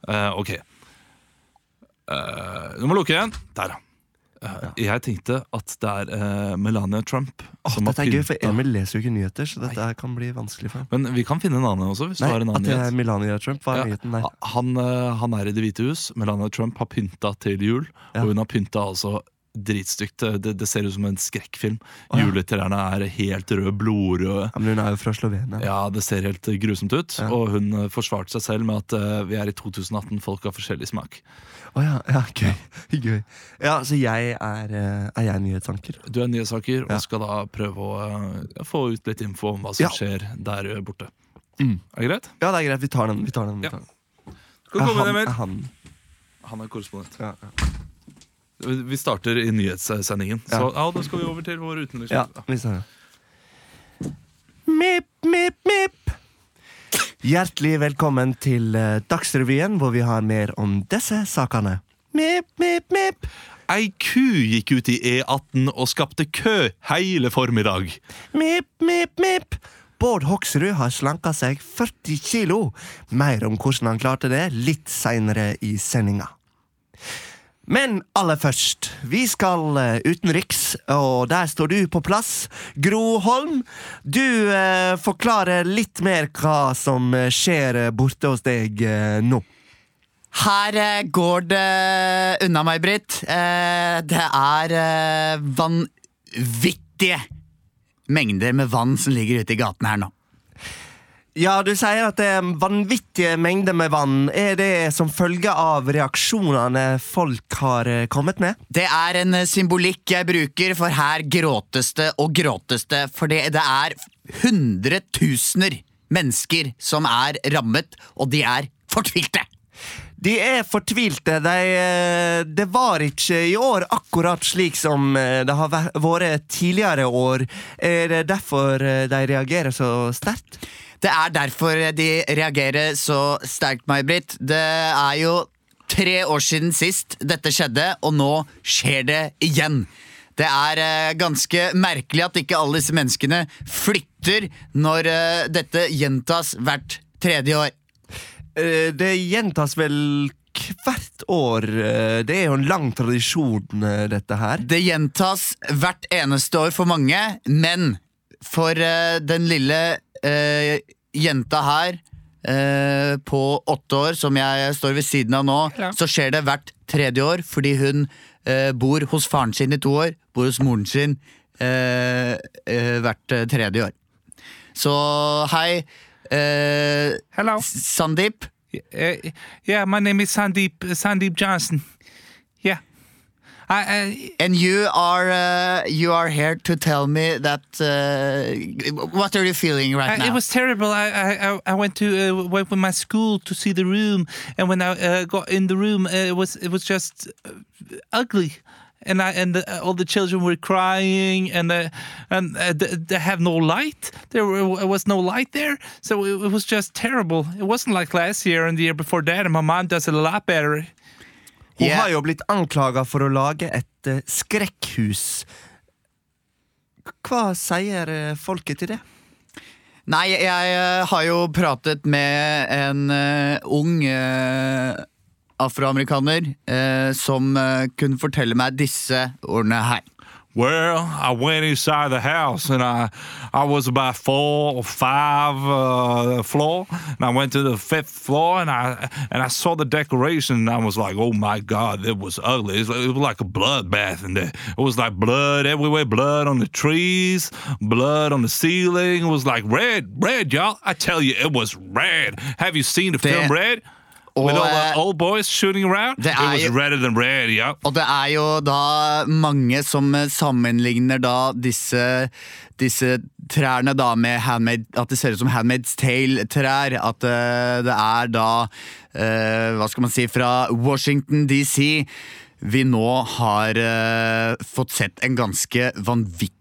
A: Eh, ok. Eh, du må lukke igjen. Der, ja. Eh, Jeg tenkte at det er eh, Melania Trump som har
C: Dette er gøy, for
A: pynta-
C: Emil leser jo ikke nyheter, så dette her kan bli vanskelig for ham.
A: Men vi kan finne en annen også. hvis
C: Nei,
A: du har en
C: at
A: annen
C: det er
A: nyhet.
C: Melania Trump var
A: Ja.
C: nyheten der.
A: Han, eh, han er i Det hvite hus. Melania Trump har pynta til jul.
C: Ja.
A: Og hun har pynta altså dritstygt. Det, det ser ut som en skrekkfilm. Juletrærne er helt røde, blodrøde.
C: Ja, men hun er jo fra Slovenia.
A: Ja, Det ser helt grusomt ut. Og hun eh, forsvarte seg selv med at eh, vi er i 2018, folk har forskjellig smak.
C: Å ja, ja, gøy. gøy. Ja, så jeg er eh, Er jeg nyhetsanker?
A: Du er nyhetsanker
C: Ja.
A: og skal da prøve å eh, få ut litt info om hva som
C: Ja. Mm.
A: skjer der eh, borte. Er det greit?
C: Ja, det er greit. Vi tar den. Vi tar den, vi
A: Ja.
C: tar den.
A: Skal du komme
C: Er
A: inn,
C: han,
A: Emil?
C: er han.
A: Han er korrespondent.
C: Ja,
A: Vi starter i nyhetssendingen. Så ja, da skal vi over til vår utenriks...
C: Ja, vi sa det. Mip, mip, mip. Hjertelig velkommen til eh, Dagsrevyen, hvor vi har mer om disse sakene. Mip, mip, mip.
A: Ei ku gikk ut i E18 og skapte kø hele formiddag.
C: Mip, mip, mip. Bård Hoksrud har slanka seg 40 kilo. Mer om hvordan han klarte det litt seinere i sendinga. Men aller først, vi skal eh, utenriks, og der står du på plass. Gro Holm, du eh, forklarer litt mer hva som eh, skjer eh, borte hos deg eh, nå.
B: Her eh, går det unna meg, Britt. Eh, det er eh, vanvittige mengder med vann som ligger ute i gaten her nå.
C: Ja, du sier at det er vanvittige mengder med vann. Er det som følge av reaksjonene folk har eh, kommet med?
B: Det er en eh, symbolikk jeg bruker, for her gråtes det og gråtes det. For det, det er hundretusener mennesker som er rammet, og de er fortvilte!
C: De er fortvilte. De, eh, det var ikke i år akkurat slik som eh, det har væ- vært tidligere år. Er det derfor eh, de reagerer så sterkt?
B: Det er derfor de reagerer så sterkt, May-Britt. Det er jo tre år siden sist dette skjedde, og nå skjer det igjen. Det er eh, ganske merkelig at ikke alle disse menneskene flytter når eh, dette gjentas hvert tredje år.
C: Eh, Det gjentas vel hvert år. eh, Det er jo en lang tradisjon, eh, dette her.
B: Det gjentas hvert eneste år for mange, men for eh, den lille eh, jenta her eh, på åtte år, som jeg står ved siden av nå, så skjer det hvert tredje år fordi hun eh, bor hos faren sin i to år, bor hos moren sin eh, eh, hvert eh, tredje år. Så hei, eh,
E: Hello.
B: Sandeep.
E: Uh, yeah, my name is Sandeep, uh, Sandeep Johnson. Yeah. I, I,
B: And you are uh, you are here to tell me that uh, what are you feeling right
E: I,
B: now?
E: Uh, it was terrible. I I, I- I went to uh, went with my school to see the room, and when I uh, got in the room, uh, it was it was just uh, ugly, and I and the, uh, all the children were crying, and uh, and uh, th- they have no light. There were- was no light there, so it, it was just terrible. It wasn't like last year and the year before that. And my mom does it a lot better.
C: Hun
B: Yeah.
C: har jo blitt anklaga for å lage et eh, skrekkhus. Hva sier eh, folket til det?
B: Nei, jeg eh, har jo pratet med en eh, ung eh, afroamerikaner eh, som eh, kunne fortelle meg disse ordene her.
D: Well, I went inside the house and I I was about four or five uh, floor, and I went to the fifth floor and I and I saw the decoration and I was like, oh my god, it was ugly. It was, it was like a bloodbath in there. It was like blood everywhere, blood on the trees, blood on the ceiling. It was like red, red, y'all. I tell you, it was red. Have you seen the film
B: Det-
D: Red? With all the
B: Og, eh,
D: old boys shooting around,
B: det
D: it
B: er
D: was
B: jo-
D: redder than red, yeah.
B: Og det er jo da mange som eh, sammenligner da disse, disse trærne da med handmade, at det ser ut som Handmaid's Tale-trær. At eh, det er da, eh, hva skal man si, fra Washington DC vi nå har eh, fått sett en ganske vanvittig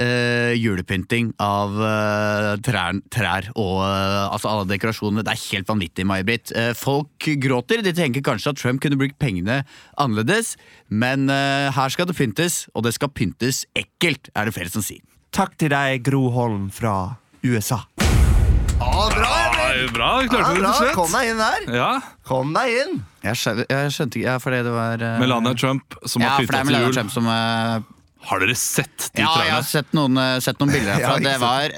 B: eh, julepynting av eh, trær, trær og eh, altså alle dekorasjonene. Det er helt vanvittig, May-Britt. Eh, folk gråter. De tenker kanskje at Trump kunne brukt pengene annerledes, men eh, her skal det pyntes, og det skal pyntes ekkelt, er det flere som sier.
C: Takk til deg, Gro Holm fra USA.
A: Ja, bra, klarte du det til
C: Kom
A: slutt.
C: deg inn der!
A: Ja,
C: Kom deg inn!
B: Jeg, skjø- jeg skjønte ikke ja, fordi det var eh,
A: Melania Trump som
B: Ja,
A: har
B: for det
A: pynta
B: er
A: til
B: Melania
A: jul.
B: Trump som eh,
A: Har dere sett de
B: Ja, jeg
A: trærne?
B: har sett noen, eh, sett noen bilder herfra.
C: Ja, ikke
B: det var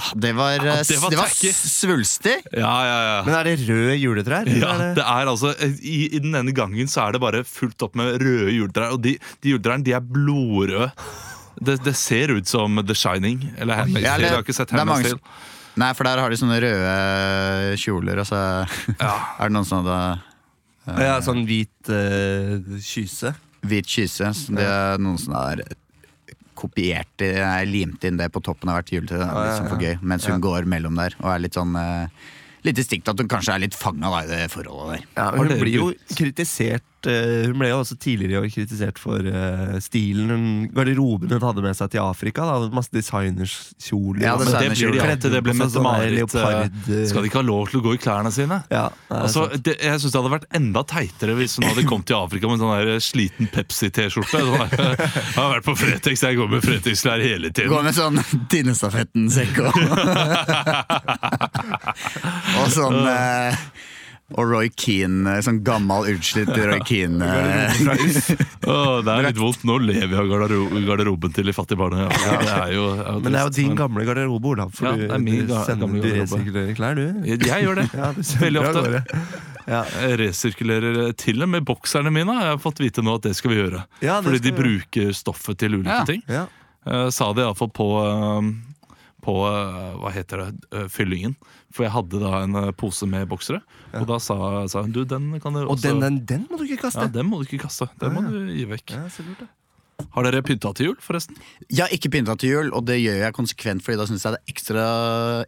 B: ah, det var, eh,
A: det var
B: det var
A: tacky.
B: svulstig.
A: Ja, ja, ja.
C: Men er det røde juletrær?
A: Ja,
C: Eller er
A: det
C: det-
A: er altså i, I den ene gangen så er det bare fullt opp med røde juletrær. Og de, de juletrærne de er blodrøde. Det, det ser ut som The Shining. Eller Handmaid's
B: Ja,
A: Tale.
B: eller-
A: Jeg har ikke sett
B: det er mange
A: Handmaid's
B: som-
A: Tale.
B: Nei, for der har de sånne røde kjoler, og så er det noen sånne
C: ja, sånn hvit eh, kyse.
B: hvit kyse. Så det er noen som har kopiert det, nei, limt inn det på toppen av hvert juletre. Det er Litt sånn for gøy, mens hun går mellom der og er litt sånn eh, lite stikk til at hun kanskje er litt fanga av det forholdet der.
C: Ja,
A: Har
C: hun
A: dere
C: blir jo
A: brukt-
C: kritisert eh, Hun ble jo også tidligere i år kritisert for eh, stilen hun, garderoben hun hadde med seg til Afrika. Da. Masse designerskjoler.
B: Ja,
C: og
B: det
C: sånn.
A: Men det
B: sa Sandnes
A: blir de
B: gjorde
A: alltid. Det blir
C: Også
A: Mette
C: sånn
A: Marit.
C: leopard,
A: eh,
C: eh,
A: Skal de ikke ha lov til å gå i klærne sine?
C: Ja, eh, nei,
A: Altså,
C: sant.
A: det, jeg synes Det hadde vært enda teitere hvis hun hadde kommet til Afrika med en sånn der sliten Pepsi-T-skjorte. Sånn der, jeg har vært på Fretex, jeg går med Fretex-klær hele
B: Gå
A: tiden.
B: med sånn tinnestafetten-sekk og Og sånn eh, Og Roy Keane, eh, sånn gammel, utslitt Roy Keane. eh,
A: Åh, det er litt vondt. Nå lever jeg av gardero garderoben til de fattige barna. Ja, det er jo, ja,
C: Men det er jo
A: trist,
C: din
A: men-
C: gamle garderobe, Olav. For
A: Ja,
C: du,
A: det er min
C: du
A: ga-
C: sender
A: gamle
C: du
A: garderobe.
C: resirkulerer klær, du.
A: Jeg, jeg gjør det.
C: Ja, du
A: Veldig
C: sender av
A: ofte.
C: gårde. Ja.
A: Jeg resirkulerer til og med bokserne mine. har Jeg har fått vite nå at det skal vi gjøre.
C: Ja, det
A: Fordi de
C: skal vi
A: bruker stoffet til ulike
B: Ja.
A: ting.
C: Ja.
A: Eh, sa det iallfall på eh, På eh, hva heter det, eh, fyllingen. For jeg hadde da en eh, pose med boksere. Og da sa, sa hun du, den kan du
C: Og
A: også
C: den, den, den må du ikke kaste!
A: Ja, den må du ikke kaste. Den må du gi vekk.
C: Ja, så lurt, da.
A: Har dere pynta til jul, forresten?
B: Jeg har ikke pynta til jul, og det gjør jeg konsekvent fordi da syns jeg det er ekstra,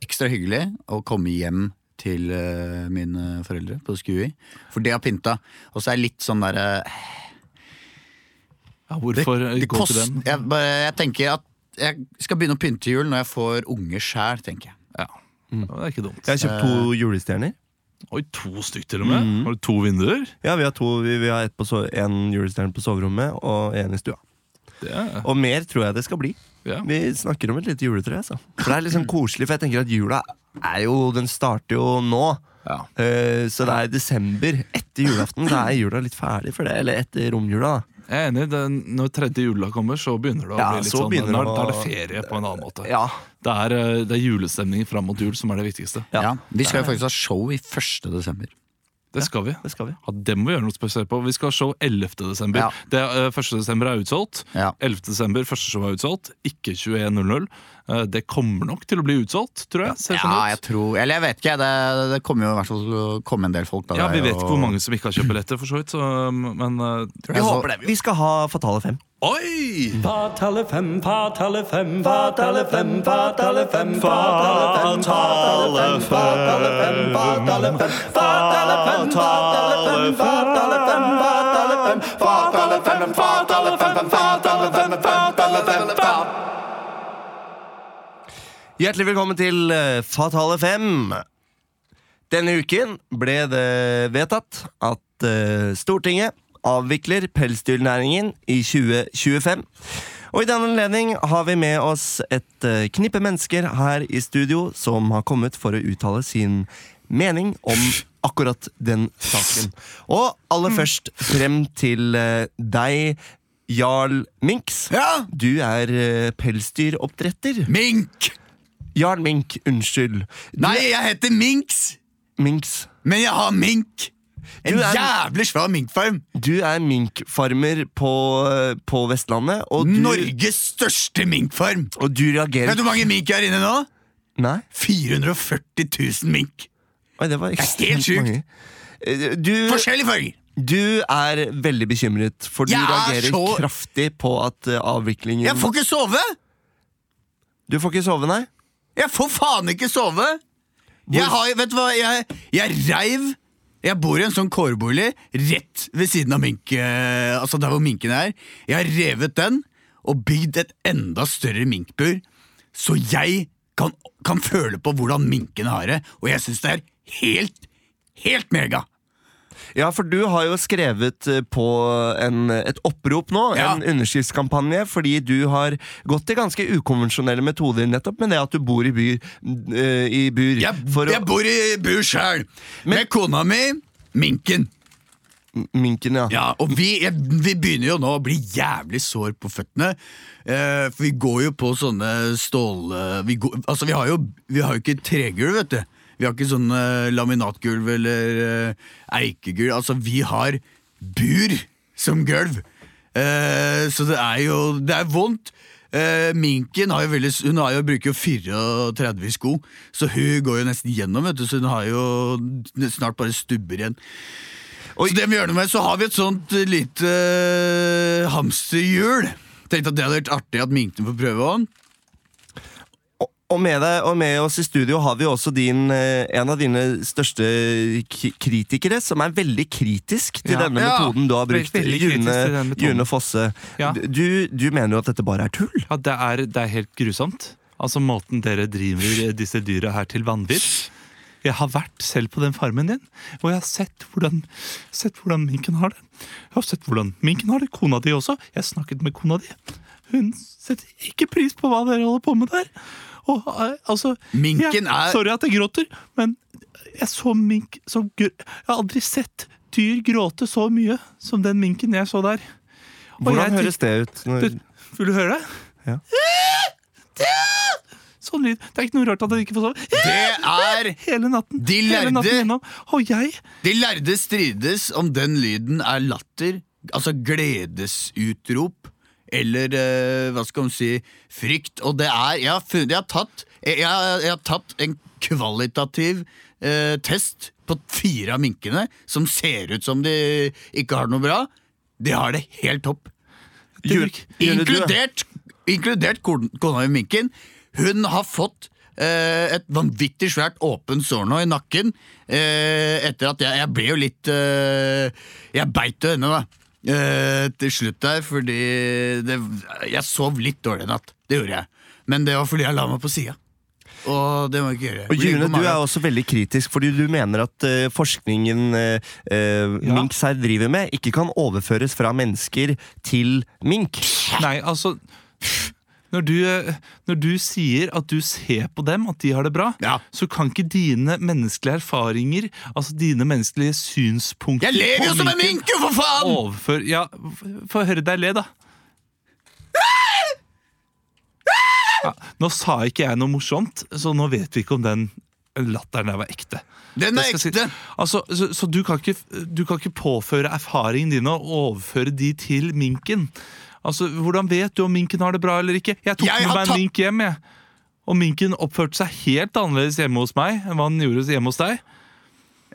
B: ekstra hyggelig å komme hjem til eh, mine foreldre på Skui. For det har pynta. Og så er jeg litt sånn derre
A: Ja, hvorfor eh,
B: Det
A: gå til
B: kost-
A: den?
B: Jeg, bare- jeg tenker at jeg skal begynne å pynte til jul når jeg får unge sjæl, tenker jeg.
A: Ja. Ja, Det er ikke dumt.
C: Jeg har kjøpt to
A: Eh,
C: julestjerner.
A: Oi, to stykk til og med? Har du to vinduer?
C: Ja, Vi har to, vi, vi har et på so en julestjerne på soverommet og en i stua.
A: Det er,
C: Og mer tror jeg det skal bli.
A: ja.
C: Vi snakker om et lite juletre. Altså. For Det er liksom koselig, for jeg tenker at jula er jo, den starter jo nå.
A: Ja.
C: Eh, så det er i desember. Etter julaften så er jula litt ferdig for det. Eller etter romjula. da.
A: Jeg er enig. Det, når tredje jula kommer, så begynner det å
C: Ja,
A: bli litt
C: så
A: sånn
C: begynner
A: da,
C: det å-
A: da er det ferie på en annen måte.
C: Ja,
A: Det, er, eh, det er julestemningen fram mot jul som er det viktigste.
B: Ja. vi skal jo faktisk ha show i 1. desember.
A: Det skal vi.
C: det skal vi.
A: Ja, det må vi gjøre noe spesielt på. Vi skal ha show 11. desember.
B: Ja.
A: Det, eh, 1. desember er utsolgt.
B: Ja.
A: 11. desember, første show er utsolgt. Ikke 21.00. Eh, Det kommer nok til å bli utsolgt, tror jeg. Ser sånn
B: Ja, jeg
A: ut.
B: tror Eller jeg vet ikke. Det, det kommer jo i hvert fall til å komme en del folk. Da,
A: Ja, Vi
B: Det er
A: vet
B: jo-
A: ikke hvor mange som ikke har kjøpt billetter, for så vidt. Så, eh, men eh,
B: Altså,
C: Vi håper det. Vi skal ha Fatale fem.
A: Oi!
C: Hjertelig velkommen til eh, Fatale fem. Denne uken ble det vedtatt at eh, Stortinget avvikler pelsdyrnæringen i 2025. Og i den anledning har vi med oss et eh, knippe mennesker her i studio som har kommet for å uttale sin mening om akkurat den saken. Og aller først frem til eh, deg, Jarl Minks.
B: Ja!
C: Du er eh, pelsdyroppdretter.
B: Mink!
C: Jarl Mink, unnskyld.
B: Nei, jeg heter Minks,
C: Minks.
B: men jeg har mink. En
C: Du er-
B: jævlig svær minkfarm.
C: Du er minkfarmer på, på Vestlandet, og du,
B: Norges største minkfarm.
C: og du reagerer
B: Vet du hvor mange mink jeg har inne nå?
C: Nei,
B: 440 000 mink.
C: Oi, det var
B: helt
C: ekstremt
B: sjukt.
C: mange. Eh, Du,
B: Forskjellige farger.
C: du er veldig bekymret, for du
B: Jeg er
C: reagerer
B: så-
C: kraftig på at eh, avviklingen
B: Jeg får ikke sove!
C: Du får ikke sove, nei?
B: Jeg får faen ikke sove! Jeg har, vet du hva, jeg, jeg reiv Jeg bor i en sånn kårbolig rett ved siden av mink, eh, altså der hvor minken er. Jeg har revet den og bygd et enda større minkbur, så jeg kan, kan føle på hvordan minkene har det. Og jeg syns det er helt, helt mega!
C: Ja, for du har jo skrevet eh, på en, et opprop nå,
B: Ja.
C: en underskriftskampanje, fordi du har gått til ganske ukonvensjonelle metoder nettopp med det at du bor i, by, eh, i bur.
B: Jeg,
C: for
B: jeg bor i bur sjøl, med kona mi, minken.
C: minken, ja.
B: Ja, og vi, jeg, vi begynner jo nå å bli jævlig sår på føttene. Eh, for vi går jo på sånne stål... eh, Vi, går, altså vi, har jo, vi har jo ikke tregulv, vet du. Vi har ikke sånn eh, laminatgulv eller eh, eikegulv. Altså, vi har bur som gulv. Eh, så det er jo Det er vondt. Eh, minken har jo veldig, hun har jo, bruker jo 34 sko, så hun går jo nesten gjennom, vet du, så hun har jo snart bare stubber igjen. Så det vi gjør noe med, så har vi et sånt eh, lite eh, hamsterhjul. Tenkte at det hadde vært artig at minkene får prøve on.
C: Og med, deg, og med oss i studio har vi også din, eh, en av dine største ki- kritikere, som er veldig kritisk til
D: Ja.
C: denne
D: Ja,
C: metoden du har brukt.
D: veldig kritisk
C: June,
D: til den metoden.
C: June Fosse.
D: Ja.
C: Du, du mener jo at dette bare er tull.
D: Ja, det er, det er helt grusomt. Altså Måten dere driver disse dyra her til vanvidd. Jeg har vært selv på den farmen din, og jeg har sett hvordan, sett hvordan minken har det. Jeg har sett hvordan minken har det, kona di også. Jeg har snakket med kona di. Hun setter ikke pris på hva dere holder på med der. Og, eh, altså,
B: Minken
D: jeg,
B: er-
D: Sorry at jeg gråter, men jeg så mink som gr- Jeg har aldri sett dyr gråte så mye som den minken jeg så der. Og jeg
C: Hvordan
D: tenker-
C: høres det ut? Når,
D: du, vil du høre det?
C: Ja.
D: Sånn lyd. Det er ikke noe rart at jeg ikke får sove.
B: Det er
D: Hele natten.
B: De
D: Hele natten
B: lærde.
D: gjennom. Og jeg
B: De lærde strides om den lyden er latter, altså gledesutrop, eller eh, hva skal man si, frykt. Og det er Jeg har, funnet, jeg har, tatt, jeg, jeg, har- jeg har tatt en kvalitativ eh, test på fire av minkene som ser ut som de ikke har det noe bra. De har det helt topp.
D: Jul-
C: Jule, du-
B: Inkludert, inkludert kon- kona i minken. Hun har fått eh, et vanvittig svært åpent sår nå i nakken. eh, etter at jeg, jeg ble jo litt eh, Jeg beit jo henne, da. eh, til slutt der, fordi det, jeg sov litt dårlig i natt. Det gjorde jeg. Men det var fordi jeg la meg på sida. Og det må jeg ikke gjøre.
C: og
B: Jeg ligger
C: June,
B: på
C: du
B: magen.
C: er også veldig kritisk, fordi du mener at eh, forskningen eh, eh, mink selv driver med, ikke kan overføres fra mennesker til mink.
D: Nei, altså når du, når du sier at du ser på dem, at de har det bra,
B: Ja.
D: så kan ikke dine menneskelige erfaringer, altså dine menneskelige synspunkter
B: Jeg ler jo
D: på
B: som en
D: minken
B: mink, jo, for faen!
D: Overfør Ja, f- få høre deg le, da. Ja, nå sa ikke jeg noe morsomt, så nå vet vi ikke om den latteren der var ekte.
B: Den er
D: Det skal jeg
B: ekte.
D: Si. Altså, så så du, kan ikke, du kan ikke påføre erfaringene dine og overføre de til minken. Altså, Hvordan vet du om minken har det bra eller ikke? Jeg tok
B: Jeg
D: med
B: har
D: meg
B: tatt-
D: en mink hjem. jeg. Og minken oppførte seg helt annerledes hjemme hos meg enn hva den gjorde hjemme hos deg.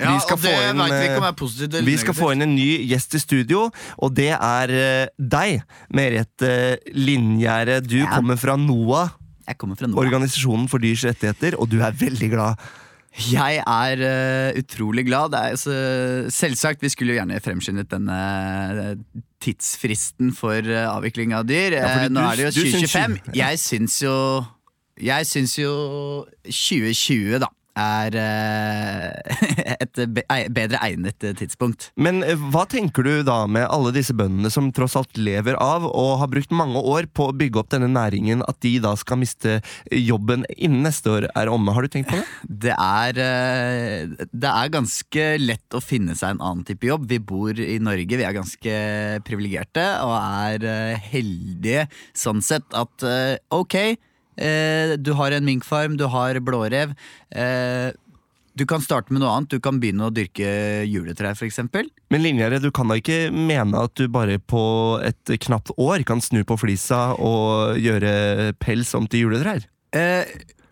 B: Ja,
C: Vi skal
B: og det
C: få inn,
B: vet vi
C: eh,
B: ikke om er positivt eller
C: Vi skal få
B: negativt.
C: inn en ny gjest i studio, og det er eh, deg, Merete Linjære. Du kommer fra NOAH,
B: Jeg kommer fra Nord.
C: organisasjonen for dyrs rettigheter, og du er veldig glad.
B: Jeg er eh, utrolig glad. Det er, altså, selvsagt, vi skulle jo gjerne fremskyndet denne eh, tidsfristen for eh, avvikling av dyr. Eh,
C: fordi
B: Nå
C: du-
B: er det jo
C: du syns
B: 2025.
C: jo-
B: Jeg syns jo Jeg syns jo 2020, da, er eh, et be ei- bedre egnet eh, tidspunkt.
C: Men eh, hva tenker du da med alle disse bøndene som tross alt lever av og har brukt mange år på å bygge opp denne næringen, at de da skal miste jobben innen neste år er omme? Har du tenkt på det?
B: Det er, eh, det er ganske lett å finne seg en annen type jobb. Vi bor i Norge, vi er ganske privilegerte og er eh, heldige sånn sett at eh, ok, eh, du har en minkfarm, du har blårev. eh, Du kan starte med noe annet. Du kan begynne å dyrke juletrær, f.eks.
C: Men Linjære, du kan da ikke mene at du bare på et knapt år kan snu på flisa og gjøre pels om til juletrær?
B: Eh,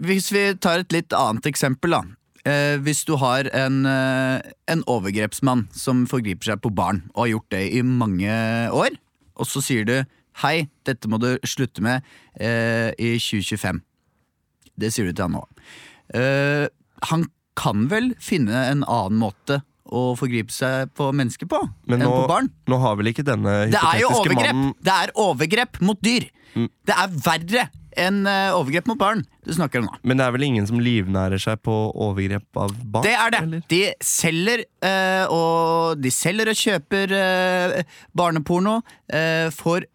B: hvis vi tar et litt annet eksempel, da. Eh, hvis du har en, eh, en overgrepsmann som forgriper seg på barn, og har gjort det i mange år, og så sier du 'hei, dette må du slutte med eh, i 2025'. Det sier du til han nå. Eh, han kan vel finne en annen måte å forgripe seg på mennesker på
C: Men
B: enn
C: nå,
B: på barn?
C: nå har vel ikke denne
B: Det er jo
C: hypotetiske
B: overgrep.
C: mannen Mm.
B: Det er overgrep mot dyr. Det er verre enn eh, overgrep mot barn du snakker om nå.
C: Men det er vel ingen som livnærer seg på overgrep av barn?
B: Det er det.
C: eller?
B: De selger eh, og de selger og kjøper eh, barneporno. eh, får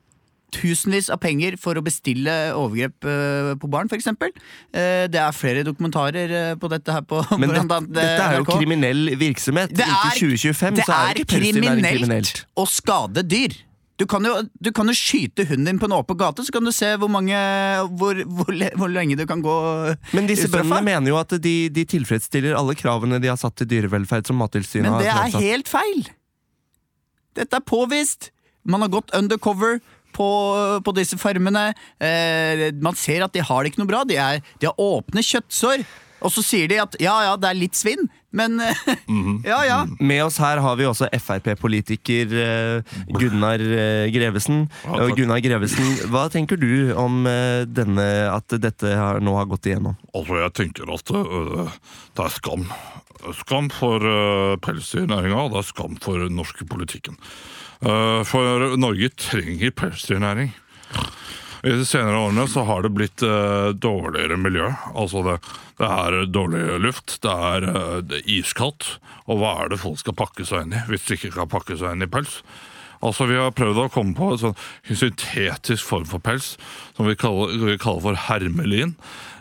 B: tusenvis av penger for å bestille overgrep eh, på barn, f.eks. Uh, det er flere dokumentarer eh, på dette her på
C: Men
B: blant
C: dette,
B: annet, eh,
C: dette er jo
B: NRK.
C: kriminell virksomhet.
B: Det er-
C: Inntil 2025
B: det
C: så er
B: er
C: ikke pelsdyrnæring kriminelt.
B: kriminelt å skade dyr. Du kan, jo, du kan jo skyte hunden din på en åpen gate, så kan du se hvor, mange, hvor, hvor, le- hvor lenge du kan gå
C: Men disse
B: ustraffa.
C: bøndene mener jo at de, de tilfredsstiller alle kravene de har satt til dyrevelferd. som Mattilsynet
B: Men
C: har
B: det er
C: framsatt.
B: helt feil! Dette er påvist. Man har gått undercover på, på disse farmene. Eh, man ser at de har det ikke noe bra. De, er, de har åpne kjøttsår. Og så sier de at ja, ja, det er litt svinn. Men eh, ja, ja.
C: Med oss her har vi også Frp-politiker eh, Gunnar eh, Grevesen. Og Gunnar Grevesen, hva tenker du om eh, denne, at dette har, nå har gått igjennom?
D: Altså, jeg tenker at øh, det er skam. Skam for øh, pelsdyrnæringa, og det er skam for den norske politikken. Eh, for Norge trenger pelsdyrnæring. I de senere årene så har det blitt eh, dårligere miljø. Altså det, det er dårlig luft, det er, eh, det er iskaldt. Og hva er det folk skal pakke seg inn i, hvis de ikke kan pakke seg inn i pels? Altså Vi har prøvd å komme på en sånn syntetisk form for pels som vi kaller, vi kaller for hermelin.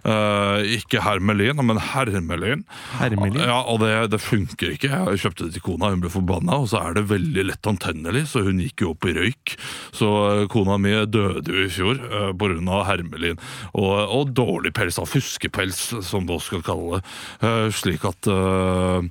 D: Eh, ikke hermelin, men hermelin.
C: Hermelin?
D: Ja, og det, det funker ikke. Jeg kjøpte det til kona, hun ble forbanna, og så er det veldig lett antennelig, så hun gikk jo opp i røyk. Så eh, kona mi døde jo i fjor eh, på grunn av hermelin og, og dårlig pels, av fuskepels, som vi også skal kalle det. Eh, Slik at eh,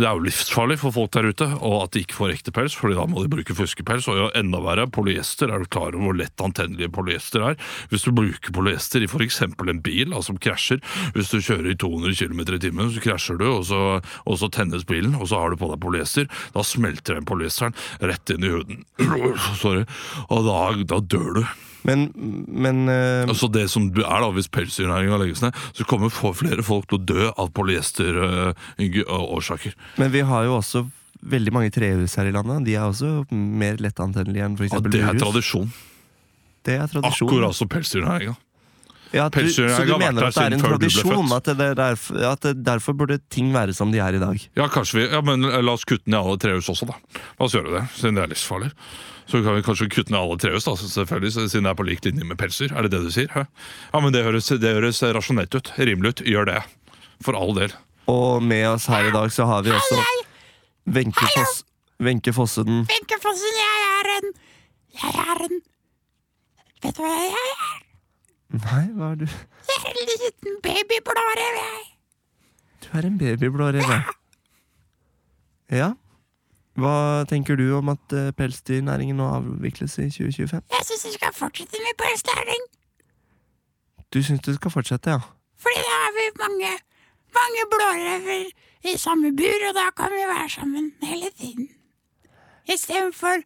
D: det er jo livsfarlig for folk der ute, og at de ikke får ekte pels, fordi da må de bruke fuskepels. Og jo enda verre, polyester. Er du klar over hvor lett antennelige polyester er? Hvis du bruker polyester i f.eks. en bil altså, som krasjer, hvis du kjører i 200 km i timen, så krasjer du, og så, og så tennes bilen, og så har du på deg polyester, da smelter den polyesteren rett inn i huden. Sorry. Og da, da dør du.
C: Men, men eh,
D: Altså det som er da, Hvis pelsdyrnæringa legges ned, så kommer få- flere folk til å dø av eh, polyesterårsaker.
C: Men vi har jo også veldig mange trehus her i landet. De er også mer lettantennelige enn f.eks.
D: Ja, det er tradisjon.
C: Det er tradisjon.
D: Akkurat som pelsdyrnæringa.
C: Ja, du, så
D: Pelsdyrjegeren
C: du
D: har
C: mener
D: vært her
C: at det er
D: siden
C: en
D: før du ble
C: tradisjon?
D: født.
C: At, det er derfor, at det, derfor burde ting være som de er i dag?
D: Ja, kanskje vi, ja, men la oss kutte ned alle trehus også, da. La oss gjøre det, siden det er livsfarlig. Så kan vi kanskje kutte ned alle trehus, da, selvfølgelig, så- siden det er på lik linje med pelsdyr. Er det det du sier? Hæ? Ja, men det høres, det høres rasjonelt ut. Rimelig ut. Gjør det. For all del.
C: Og med oss her i dag så har vi også Wenche Foss, Wenche Fosse den
F: Vinkefossen, jeg er en Jeg er en Vet du hva jeg er?
C: Nei, hva er du?
F: Jeg er en liten babyblårev, jeg.
C: Du er en babyblå rev. ja. Ja. Hva tenker du om at eh, pelsdyrnæringen nå avvikles i 2025?
F: Jeg syns vi skal fortsette med pelslæring,
C: Du syns det skal fortsette, ja?
F: fordi da har vi mange, mange blårever i samme bur, og da kan vi være sammen hele tiden. Istedenfor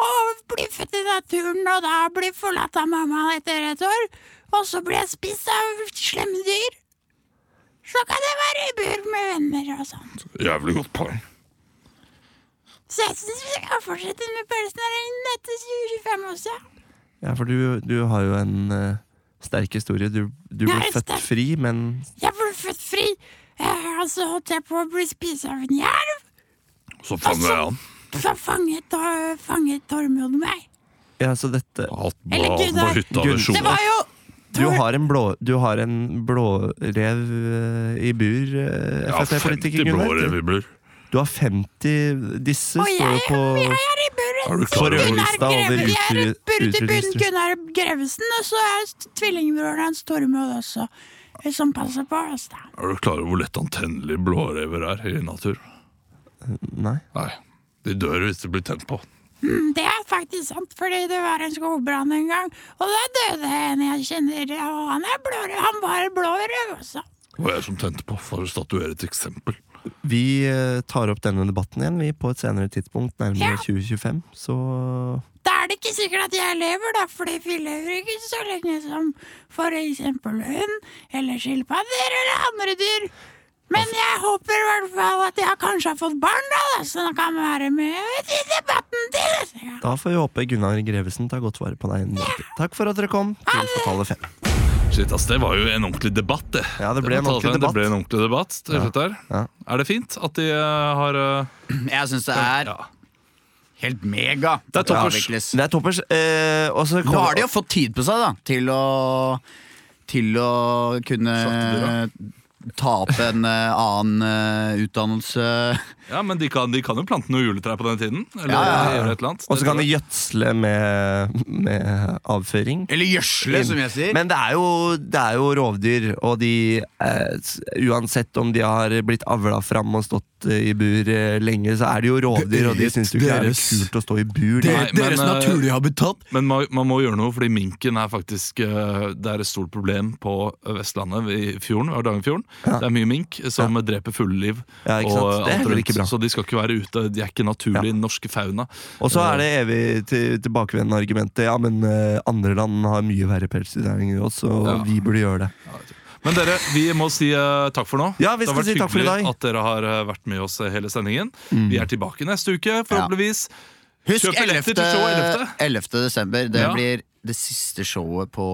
F: å bli født i naturen og da bli forlatt av mamma etter et år, og så bli spist av slemme dyr. Så kan jeg være i bur med venner og sånn.
D: Jævlig godt poeng.
F: Så jeg syns vi skal fortsette med pelsnæringen etter 2025 også.
C: Ja, for du, du har jo en eh, sterk historie. Du, du
F: Ja, jeg
C: ble
F: er
C: født
F: sterk.
C: fri, men
F: Jeg ble født fri, eh, og så holdt jeg på å bli spist av en jerv.
D: Så fanger jeg han.
F: Så fanget, uh, fanget Tormod meg.
C: Ja, så dette
D: Hatt
F: Eller
D: på,
F: Gud,
D: på
F: nei.
D: hytta
C: Gud.
D: ved
F: Det
D: Sjoa.
F: var jo
C: Du har en blå Du har en blårev eh, i bur, eh,
D: Ja, 50
C: Frp-politiker
D: blå
C: Gunnar. Du-
D: revibler.
C: Du har 50 Disse
F: Og
C: står
F: jeg,
C: jo på
F: jeg er i
D: Er
F: buret.
D: du klar over
F: Gunnar
C: lista over
F: Greve- Jeg er i
C: utrydde-
F: buret til bunn
C: utrydningstrussel?
F: Gunnar Grevesen, og så er st- tvillingbroren hans Tormod også, eh, som passer på oss, da.
D: Er du klar over hvor lett antennelige blårever er i natur?
C: Nei.
D: Nei. De dør hvis de blir tent på.
F: Mm, Det er faktisk sant, fordi det var en skogbrann en gang, og da døde en jeg kjenner, og han er blårød. Han var blårød også.
D: Det var jeg som tente på, for å statuere et eksempel.
C: Vi eh, tar opp denne debatten igjen Vi på et senere tidspunkt, nærmere
F: Ja.
C: 2025. Så
F: Da er det ikke sikkert at jeg lever, da, fordi vi lever ikke så lenge som for eksempel hund, eller skilpadder, eller andre dyr. Men jeg håper i hvert fall at jeg kanskje har fått barn, da, da så da kan jeg være med i debatten til neste gang.
C: da får vi håpe Gunnar Grevesen tar godt vare på deg. Takk for at dere kom til Fatale 5.
D: Shit, ass, Det var jo en ordentlig debatt, det.
C: Ja, det ble
D: må
C: en
D: ta
C: ordentlig
D: seg.
C: debatt.
D: Det ble en ordentlig debatt til slutt der.
C: Ja.
D: Er det fint at de eh, har eh,
B: Jeg syns det er
D: ja.
B: helt mega.
D: Det er
B: at
D: toppers.
B: avvikles.
C: Det er toppers. Eh, og
B: Nå
C: så kommer-
B: har de jo fått tid på seg da til å, til å kunne
D: Slakte
B: ta opp en eh, annen eh, utdannelse.
D: ja, men de kan, de kan jo plante noe juletre på den tiden. Eller
B: Ja, ja, ja.
D: gjøre et eller annet.
C: Og så
D: Det
C: kan
D: tror
C: de
D: jeg.
C: gjødsle med, med avføring.
B: Eller gjødsle, som jeg sier.
C: Men det er jo, det er jo rovdyr, og de eh, s- Uansett om de har blitt avla fram og stått satt eh, i bur eh, lenge, så er det jo rovdyr, og de
J: Dere-
C: syns jo ikke det er litt
J: deres-
C: kult å stå i bur.
J: Det
C: da.
J: er
A: Nei, men,
J: deres
A: eh,
J: naturlige habitat.
A: Men man, man må gjøre noe, fordi minken er faktisk eh, Det er et stort problem på eh, Vestlandet, i fjorden, Hardangerfjorden. Det er mye mink som dreper fugleliv.
C: Ja, ikke sant?
A: og, eh,
C: Det er
A: alt
C: heller
A: rundt.
C: ikke bra.
A: Så de skal ikke være ute. De er ikke naturlig norske fauna.
C: Og så er det evig til, tilbakevendende argumentet Ja, men eh, andre land har mye verre pelsdyrnæring enn oss, og
A: Ja.
C: vi burde gjøre det.
A: Men dere, vi må si eh, takk for nå.
C: Ja, vi
A: det har
C: skal
A: vært
C: si takk for i
A: hyggelig
C: dag. Mm.
A: at dere har eh, vært med oss hele sendingen. Vi er tilbake neste uke, forhåpentligvis.
B: Husk
A: Kjøp billetter til show 11..
B: 11. desember. Det
A: Ja.
B: blir det siste showet på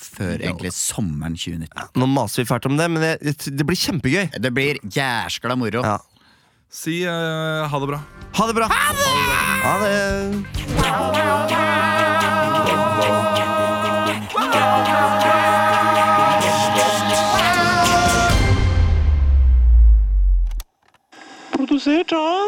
B: før egentlig sommeren 2019.
C: Nå maser vi fælt om det, men det, det blir kjempegøy.
B: Det blir jæskla moro.
C: Ja.
A: Si eh, ha det bra.
C: Ha det bra! Ha det!
G: Produsert av